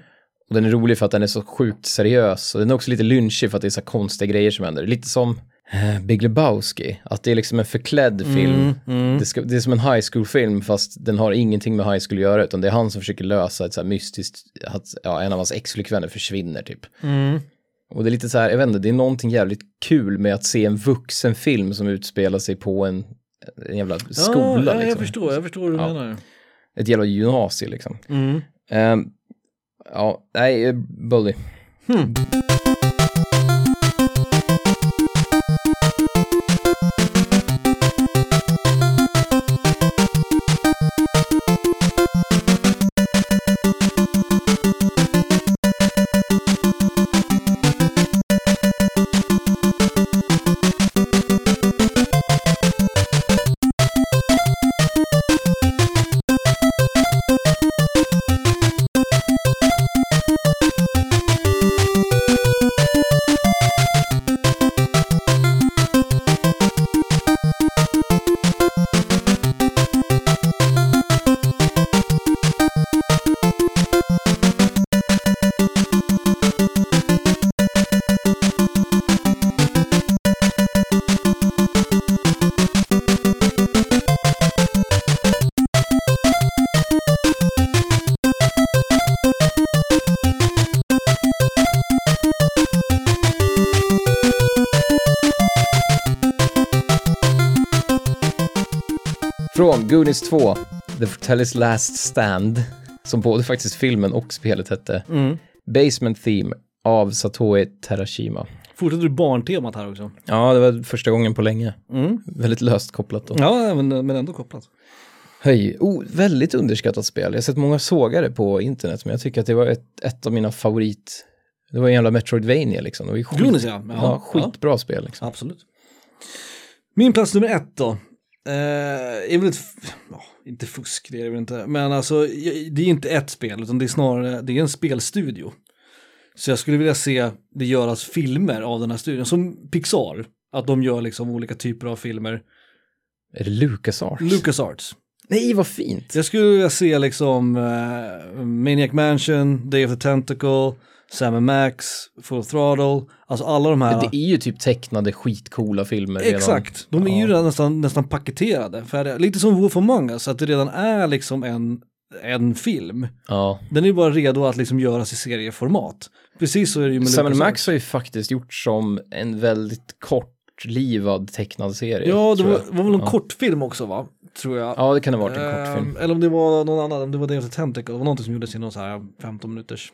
Speaker 1: Och den är rolig för att den är så sjukt seriös. Och den är också lite lynchig för att det är så här konstiga grejer som händer. Lite som eh, Big Lebowski, att det är liksom en förklädd
Speaker 2: Mm.
Speaker 1: film. Det, ska, det är som en high school-film fast den har ingenting med high school att göra utan det är han som försöker lösa ett så här mystiskt, att ja, en av hans ex-flickvänner försvinner typ.
Speaker 2: Mm.
Speaker 1: Och det är lite så här, jag vet inte, det är någonting jävligt kul med att se en vuxen film som utspelar sig på en, en jävla skola.
Speaker 2: ja, ja, jag
Speaker 1: liksom.
Speaker 2: förstår, jag förstår hur du
Speaker 1: Ja.
Speaker 2: menar.
Speaker 1: Ett jävla gymnasie liksom.
Speaker 2: Mm.
Speaker 1: Ehm, ja, nej, eh, Bully.
Speaker 2: Hmm.
Speaker 1: Från Goonies 2, The Fratellis Last Stand, som både faktiskt filmen och spelet hette,
Speaker 2: Mm.
Speaker 1: Basement Theme av Satoe Terashima.
Speaker 2: Fortsätter du barntemat här också?
Speaker 1: Ja, det var första gången på länge.
Speaker 2: Mm.
Speaker 1: Väldigt löst kopplat då.
Speaker 2: Ja, men, men ändå kopplat.
Speaker 1: Höj, oh, väldigt underskattat spel. Jag har sett många sågare på internet, men jag tycker att det var ett, ett av mina favorit... Det var en jävla Metroidvania liksom. Det var ju skit,
Speaker 2: Goonies, ja. Ja,
Speaker 1: ja, skitbra spel liksom.
Speaker 2: Absolut. Min plats nummer ett då. Eh, är väl ett, f- ja, inte fusk, det är det väl inte. Men alltså, jag- det är inte ett spel, utan det är snarare det är en spelstudio. Så jag skulle vilja se det göras filmer av den här studion, som Pixar. Att de gör liksom olika typer av filmer.
Speaker 1: Är det LucasArts?
Speaker 2: LucasArts.
Speaker 1: Nej, vad fint!
Speaker 2: Jag skulle vilja se liksom eh, Maniac Mansion, Day of the Tentacle, Sam and Max, Full Throttle, alltså alla de här.
Speaker 1: Det är ju typ tecknade skitcoola filmer redan.
Speaker 2: Exakt, de är ju redan nästan, nästan paketerade. Färdiga. Lite som Wolf Among Us, att det redan är liksom en, en film.
Speaker 1: Ja.
Speaker 2: Den är ju bara redo att liksom göras i serieformat. Precis så är det ju med
Speaker 1: Sam
Speaker 2: LucasArts.
Speaker 1: Max har ju faktiskt gjort som en väldigt kortlivad tecknad serie.
Speaker 2: Ja, det
Speaker 1: tror
Speaker 2: var,
Speaker 1: jag.
Speaker 2: var väl någon
Speaker 1: Ja.
Speaker 2: kortfilm också va? Tror jag.
Speaker 1: Ja, det kan ha varit en
Speaker 2: Ehm,
Speaker 1: kortfilm.
Speaker 2: Eller om det var någon annan, om det var Day of the Tentacle, det var någonting som gjordes i någon så här 15 minuters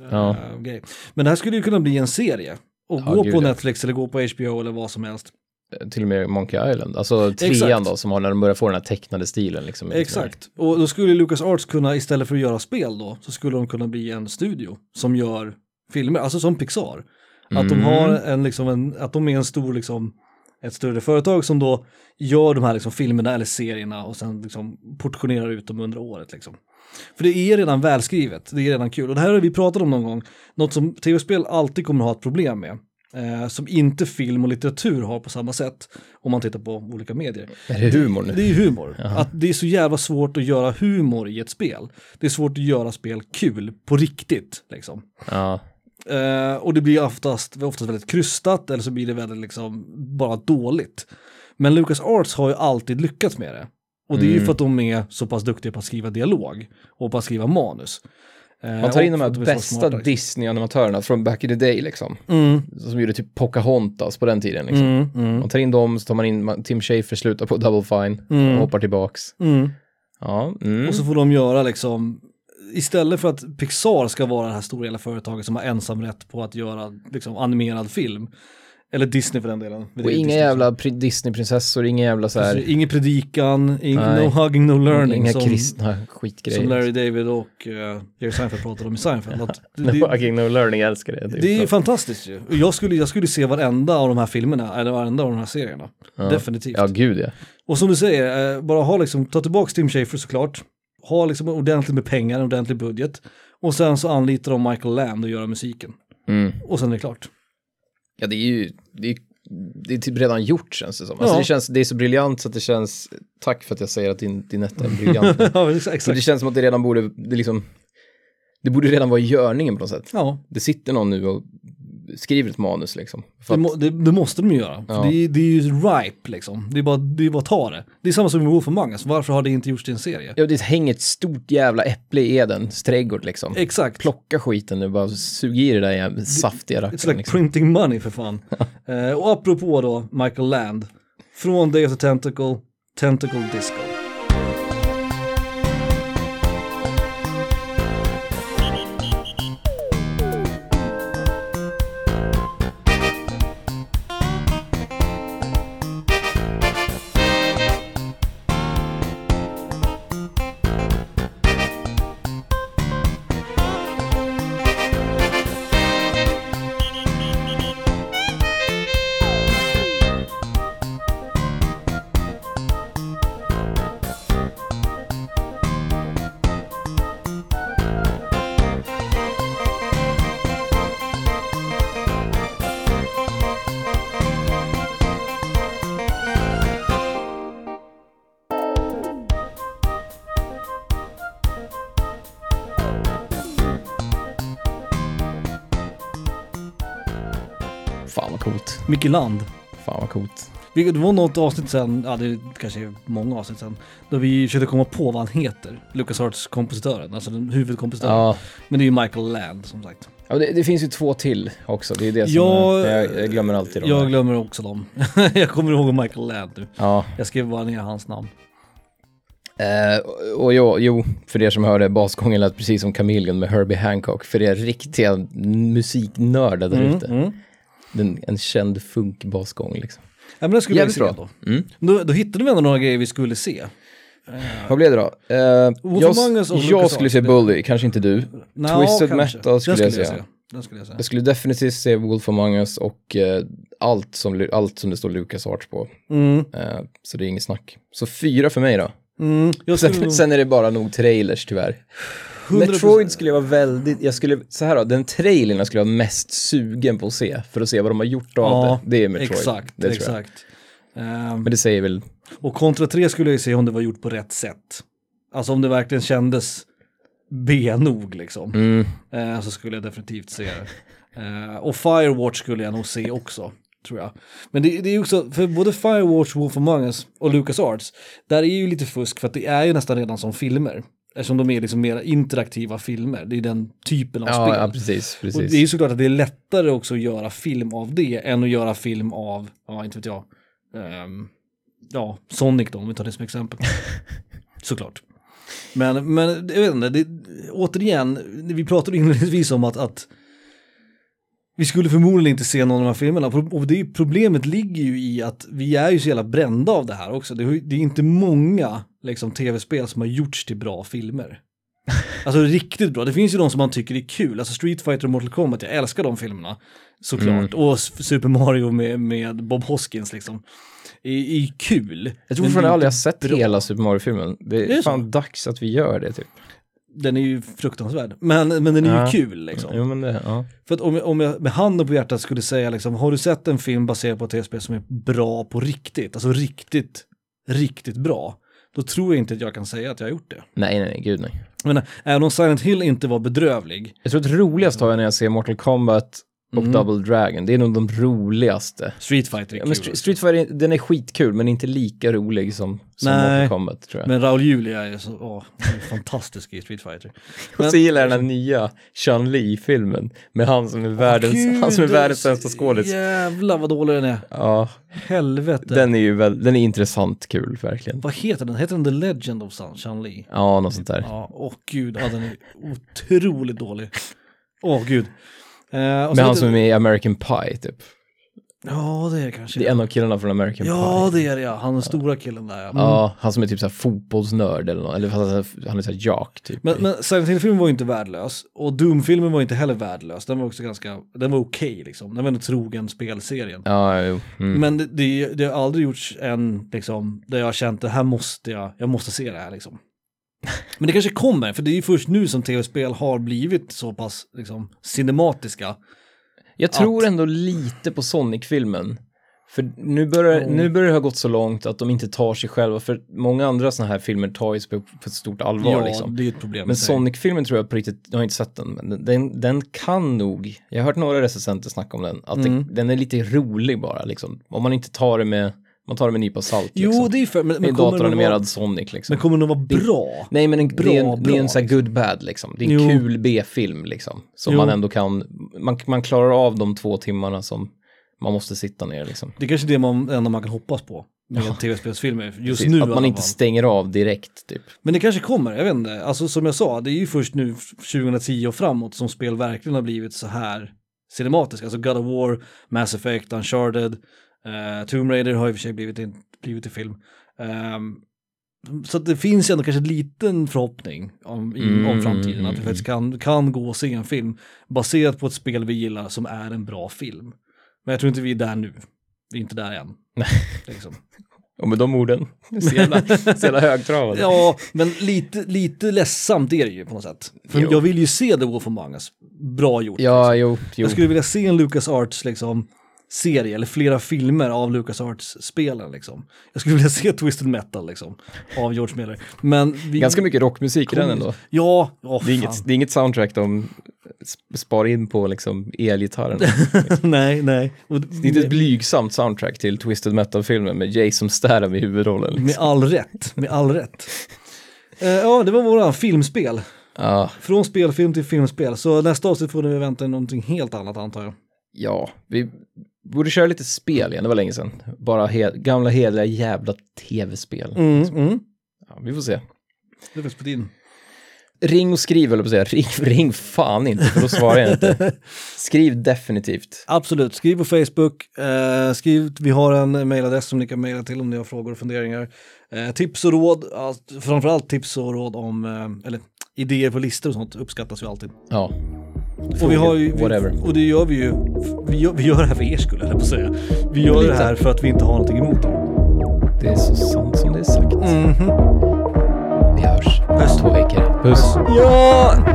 Speaker 2: eh,
Speaker 1: Ja.
Speaker 2: grej. Men det här skulle ju kunna bli en serie och
Speaker 1: Ja,
Speaker 2: gå
Speaker 1: gud,
Speaker 2: på
Speaker 1: ja.
Speaker 2: Netflix eller gå på HBO eller vad som helst.
Speaker 1: Till och med Monkey Island. Alltså trean
Speaker 2: Exakt.
Speaker 1: då, som har när de börjar få den här tecknade stilen. Liksom,
Speaker 2: Exakt, och då skulle Lucas Arts kunna, istället för att göra spel då, så skulle de kunna bli en studio som gör filmer, alltså som Pixar. Att de har en, liksom en, att de är en stor, liksom, ett större företag som då gör de här liksom, filmerna eller serierna och sen liksom portionerar ut dem under året liksom. För det är redan välskrivet, det är redan kul. Och det här har vi pratat om någon gång, något som tv-spel alltid kommer att ha ett problem med. Eh, som inte film och litteratur har på samma sätt om man tittar på olika medier.
Speaker 1: Är det humor nu?
Speaker 2: Det är ju humor. Att det är så jävla svårt att göra humor i ett spel. Det är svårt att göra spel kul på riktigt. Liksom.
Speaker 1: Ja.
Speaker 2: Eh, och det blir oftast, oftast väldigt krystat eller så blir det väldigt liksom, bara dåligt. Men Lucas Arts har ju alltid lyckats med det. Och det
Speaker 1: Mm.
Speaker 2: är ju för att de är så pass duktiga på att skriva dialog och på att skriva manus. Eh,
Speaker 1: Man tar in
Speaker 2: och
Speaker 1: de här
Speaker 2: för att är så
Speaker 1: bästa
Speaker 2: smarta, liksom.
Speaker 1: Disney-animatörerna från back in the day, liksom.
Speaker 2: Mm,
Speaker 1: Som gjorde typ Pocahontas på den tiden. Liksom.
Speaker 2: mm, mm,
Speaker 1: Man tar in dem, så tar man in man, Tim Schafer, slutar på Double Fine,
Speaker 2: Mm.
Speaker 1: och hoppar tillbaks.
Speaker 2: mm.
Speaker 1: Ja, mm.
Speaker 2: Och så får de göra liksom, istället för att Pixar ska vara det här stora jävla företaget som har ensamrätt på att göra liksom, animerad film, Eller Disney för den delen.
Speaker 1: Och
Speaker 2: Det är
Speaker 1: inga
Speaker 2: Disney
Speaker 1: jävla pri- Disney-prinsessor, inga jävla så
Speaker 2: som-
Speaker 1: här,
Speaker 2: Precis, Ingen predikan, ing,
Speaker 1: Nej.
Speaker 2: no hugging, no learning.
Speaker 1: inga
Speaker 2: som,
Speaker 1: kristna
Speaker 2: som
Speaker 1: skitgrejer.
Speaker 2: Larry David och eh, Jerry Seinfeld pratade om i Seinfeld. Att
Speaker 1: No
Speaker 2: det,
Speaker 1: fucking no learning, jag älskar det. typ.
Speaker 2: det är ju fantastiskt ju. Och Jag skulle, jag skulle se varenda av de här filmerna, eller varenda av de här serierna.
Speaker 1: Ja.
Speaker 2: Definitivt.
Speaker 1: Ja, gud ja.
Speaker 2: Och som du säger, eh, bara ha liksom, ta tillbaka Tim Schafer såklart. Ha liksom ordentligt med pengar, en ordentlig budget. Och sen så anlitar de Michael Land att göra musiken.
Speaker 1: Mm.
Speaker 2: Och sen är det klart.
Speaker 1: Ja, det är ju... Det är, det är typ redan gjort känns det som. Alltså,
Speaker 2: Ja.
Speaker 1: det, känns, det är så briljant så att det känns... Tack för att jag säger att din, din etta är briljant. Men
Speaker 2: ja, exakt.
Speaker 1: det känns som att det redan borde... Det, liksom, det borde redan vara i görningen på något sätt.
Speaker 2: Ja,
Speaker 1: Det sitter någon nu och skriver ett manus liksom. För
Speaker 2: det,
Speaker 1: att,
Speaker 2: må, det, det måste de ju göra.
Speaker 1: Ja.
Speaker 2: För Det, är- det är ju ripe liksom. Det är bara, det är bara att ta det. Det är samma som med Wolf Among Us. Varför har det inte gjorts till en serie?
Speaker 1: ja, det hänger ett stort jävla äpple i Edens trädgård liksom.
Speaker 2: Exakt.
Speaker 1: Plocka skiten nu, bara sug i det där jävla saftiga rackaren.
Speaker 2: It's like
Speaker 1: liksom.
Speaker 2: printing money för fan. Eh, och apropå då Michael Land, från Day of the Tentacle, Tentacle Disco.
Speaker 1: Fan vad coolt.
Speaker 2: Micke Land.
Speaker 1: Fan vad coolt.
Speaker 2: Vilket- Det var något avsnitt sen, ja det är kanske många avsnitt sen, då vi försökte komma på vad han heter. Lucas Arts kompositören, alltså den huvudkompositören.
Speaker 1: Ja.
Speaker 2: Men det är ju Michael Land som sagt.
Speaker 1: Ja, men det, det finns ju två till också. Det är det som
Speaker 2: Ja,
Speaker 1: jag, jag glömmer alltid dem.
Speaker 2: Jag
Speaker 1: där.
Speaker 2: glömmer också dem. jag kommer ihåg Michael Land nu.
Speaker 1: ja.
Speaker 2: Jag skrev bara ner hans namn.
Speaker 1: Eh, och jo, jo, för er som hörde, basgången lät precis som Chameleon med Herbie Hancock. För er riktiga musiknördar
Speaker 2: Mm.
Speaker 1: där ute. Den- En känd funkbasgång liksom.
Speaker 2: Ja, men det skulle
Speaker 1: Jävligt
Speaker 2: vi se
Speaker 1: bra. Mm.
Speaker 2: då. då. Då hittade vi ändå några grejer vi skulle se.
Speaker 1: Vad blev det då? Eh, jag
Speaker 2: Among Us och
Speaker 1: jag
Speaker 2: LucasArts.
Speaker 1: skulle se Bully, kanske inte du.
Speaker 2: Nå,
Speaker 1: Twisted
Speaker 2: kanske.
Speaker 1: Metal skulle,
Speaker 2: Den
Speaker 1: jag säga.
Speaker 2: Den skulle jag säga.
Speaker 1: Jag skulle definitivt se Wolf Among Us och eh, allt, som, allt som det står Lucas Arts på.
Speaker 2: Mm.
Speaker 1: Eh, så det är inget snack. Så fyra för mig då.
Speaker 2: Mm. Jag skulle
Speaker 1: Sen,
Speaker 2: nog-
Speaker 1: sen är det bara nog trailers tyvärr.
Speaker 2: 100%.
Speaker 1: Metroid skulle jag vara väldigt, jag skulle, så här då, den trailern jag skulle vara mest sugen på att se, för att se vad de har gjort av
Speaker 2: Ja,
Speaker 1: det, det är Metroid.
Speaker 2: Exakt,
Speaker 1: det tror jag.
Speaker 2: exakt. Ehm,
Speaker 1: Men det säger väl,
Speaker 2: och kontra 3 skulle jag ju se om det var gjort på rätt sätt. Alltså om det verkligen kändes B nog liksom.
Speaker 1: mm,
Speaker 2: Ehm, så skulle jag definitivt se det. Ehm, och Firewatch skulle jag nog se också. Tror jag. Men det, det är ju också, för både Firewatch, Wolf Among Us och Lucas Arts, där är ju lite fusk för att det är ju nästan redan som filmer. Eftersom de är liksom mer interaktiva filmer, det är den typen av spel.
Speaker 1: ja, ja precis, precis.
Speaker 2: Och det är ju såklart att det är lättare också att göra film av det än att göra film av, ja inte vet jag, ehm, ja, Sonic då om vi tar det som exempel. såklart. Men, men jag vet inte, det, återigen, vi pratade inledningsvis om att, att vi skulle förmodligen inte se någon av de här filmerna. Och det är ju, problemet ligger ju i att vi är ju så jävla brända av det här också. Det, är ju- det är inte många liksom, tv-spel som har gjorts till bra filmer. Alltså riktigt bra. Det finns ju de som man tycker är kul. Alltså Street Fighter och Mortal Kombat, jag älskar de filmerna. Såklart.
Speaker 1: Mm.
Speaker 2: Och S- Super Mario med, med Bob Hoskins liksom. Är, är ju kul.
Speaker 1: jag tror
Speaker 2: Men det
Speaker 1: fortfarande
Speaker 2: är
Speaker 1: aldrig jag har sett
Speaker 2: inte bra.
Speaker 1: hela Super Mario-filmen. Det är,
Speaker 2: Är det
Speaker 1: fan dags att vi gör det typ.
Speaker 2: Den är ju fruktansvärd. Men, men den är
Speaker 1: Ja.
Speaker 2: ju kul liksom.
Speaker 1: Jo, men det, ja.
Speaker 2: För att om jag, om jag med handen på hjärtat skulle säga liksom, har du sett en film baserad på ett tv-spel som är bra på riktigt, alltså riktigt, riktigt bra, då tror jag inte att jag kan säga att jag har gjort det.
Speaker 1: Nej, nej, nej, gud nej.
Speaker 2: Men även om Silent Hill inte var bedrövlig,
Speaker 1: Jag tror att roligast har jag när jag ser Mortal Kombat och
Speaker 2: Mm.
Speaker 1: Double Dragon. Det är nog de roligaste.
Speaker 2: Street Fighter är
Speaker 1: Ja,
Speaker 2: kul. alltså.
Speaker 1: men Str- Street Fighter, den är skitkul, men inte lika rolig som, som
Speaker 2: Nej.
Speaker 1: Mortal Kombat tror jag.
Speaker 2: men Raoul Julia är så, åh, han är fantastisk i Street Fighter.
Speaker 1: Och så gillar jag den här nya Sean Lee-filmen med han som är världens, han som är
Speaker 2: Ah, Gud, alltså,
Speaker 1: världens sämsta skådis.
Speaker 2: Jävlar vad dålig den är.
Speaker 1: Ja,
Speaker 2: Helvete.
Speaker 1: den är ju väl, den är intressant kul verkligen.
Speaker 2: Vad heter den? Heter den The Legend of Sun, Chan Li?
Speaker 1: Ja, något sånt där.
Speaker 2: Ja, åh gud, ja, den är otroligt dålig. Åh gud. Eh, och så
Speaker 1: Med han
Speaker 2: vet
Speaker 1: som är
Speaker 2: jag-
Speaker 1: med i American Pie typ.
Speaker 2: Ja, det är det kanske.
Speaker 1: Det är en av killarna från American
Speaker 2: ja,
Speaker 1: Pie.
Speaker 2: det är det ja. Han den stora killen där ja.
Speaker 1: Ja, han som är typ så här fotbollsnörd eller något. Eller fast han är så här- han är så här jock typ.
Speaker 2: Men, men Silent Hill-filmen var ju inte värdelös och Doom-filmen var inte heller värdelös. Den var också ganska, den var okej liksom. Den var ändå trogen spelserien.
Speaker 1: Ja, jo. Mm.
Speaker 2: Men det, det, det har aldrig gjorts än, liksom, där jag har känt det här måste jag, jag måste se det här liksom. Men det kanske kommer, för det är ju först nu som tv-spel har blivit så pass liksom, cinematiska.
Speaker 1: Jag tror ändå lite på Sonic-filmen. För nu börjar,
Speaker 2: Ja.
Speaker 1: nu börjar det ha gått så långt att de inte tar sig själva, för många andra sådana här filmer tar ju sig på, på ett stort allvar
Speaker 2: ja,
Speaker 1: liksom.
Speaker 2: det är ju ett problem. i
Speaker 1: Men
Speaker 2: sig.
Speaker 1: Sonic-filmen tror jag på riktigt, jag har inte sett den, men den, den kan nog, jag har hört några recensenter snacka om den, att
Speaker 2: Mm.
Speaker 1: det, den är lite rolig bara liksom. Om man inte tar det med, man tar det med en nypa salt
Speaker 2: Jo,
Speaker 1: liksom.
Speaker 2: det är ju för... Men,
Speaker 1: det är
Speaker 2: men, kommer den
Speaker 1: datoranimerad
Speaker 2: vara,
Speaker 1: Sonic liksom.
Speaker 2: men kommer den vara bra?
Speaker 1: Nej, men en, det är en,
Speaker 2: Bra,
Speaker 1: det är
Speaker 2: bra,
Speaker 1: en så här good bad liksom. Det är en
Speaker 2: Jo.
Speaker 1: kul B-film liksom. Som
Speaker 2: Jo.
Speaker 1: man ändå kan, man, man klarar av de två timmarna som man måste sitta ner liksom.
Speaker 2: Det är kanske är det man, enda man kan hoppas på med tv-spelsfilmer just nu. i
Speaker 1: att man
Speaker 2: alla
Speaker 1: inte
Speaker 2: fall.
Speaker 1: stänger av direkt typ.
Speaker 2: Men det kanske kommer, jag vet inte. Alltså som jag sa, det är ju först nu 2010 och framåt som spel verkligen har blivit så här cinematiska. Alltså God of War, Mass Effect, Uncharted, eh, Tomb Raider har i och för sig blivit, in, blivit till film. Ehm, så att det finns ju ändå kanske en liten förhoppning om, i, om
Speaker 1: Mm,
Speaker 2: framtiden,
Speaker 1: mm,
Speaker 2: att vi faktiskt kan, kan gå och se en film baserat på ett spel vi gillar som är en bra film. Men jag tror inte vi är där nu. Vi är inte där än. Liksom.
Speaker 1: Och med de orden, så jävla, så jävla högtravade.
Speaker 2: Ja, men lite, lite ledsamt är det ju på något sätt. För
Speaker 1: Jo.
Speaker 2: jag vill ju se The Wolf Among Us. Bra gjort.
Speaker 1: Ja, jo, jo.
Speaker 2: Jag skulle vilja se en Lucas Arts liksom serie eller flera filmer av Lucas Arts spelen liksom. Jag skulle vilja se Twisted Metal liksom av George Miller. Men vi...
Speaker 1: Ganska mycket rockmusik i den ändå.
Speaker 2: Ja, åh,
Speaker 1: Det är,
Speaker 2: fan.
Speaker 1: inget, det är inget soundtrack de sp- sparar in på liksom elgitarren. Det
Speaker 2: nej, nej. Och
Speaker 1: är inte ett blygsamt soundtrack till Twisted Metal-filmen med Jason Statham i huvudrollen. Liksom.
Speaker 2: Med all rätt, med all rätt. Eh, ja, det var våra filmspel.
Speaker 1: Ja,
Speaker 2: Från spelfilm till filmspel. Så nästa avsnitt får ni vänta er någonting helt annat antar jag.
Speaker 1: ja, vi borde köra lite spel igen, det var länge sedan. Bara he- gamla hederliga jävla tv-spel.
Speaker 2: Mm, mm.
Speaker 1: Ja, vi får se.
Speaker 2: Det är faktiskt på tiden.
Speaker 1: Ring och skriv, eller på att säga. Ring, ring fan inte, för då svarar jag inte. Skriv definitivt.
Speaker 2: Absolut, skriv på Facebook, eh, skriv, vi har en mailadress som ni kan mejla till om ni har frågor och funderingar. Eh, tips och råd, allt- framförallt tips och råd om, eh, eller idéer på listor och sånt uppskattas ju alltid.
Speaker 1: Ja,
Speaker 2: Och, vi har ju,
Speaker 1: whatever.
Speaker 2: vi, och det gör vi ju, vi gör, vi gör det här för er skull, höll jag på att säga. Vi gör
Speaker 1: Lite.
Speaker 2: det här för att vi inte har någonting emot det.
Speaker 1: det är så sant som det är sagt.
Speaker 2: Mhm.
Speaker 1: Vi hörs. Puss. Två veckor. Puss.
Speaker 2: Ja!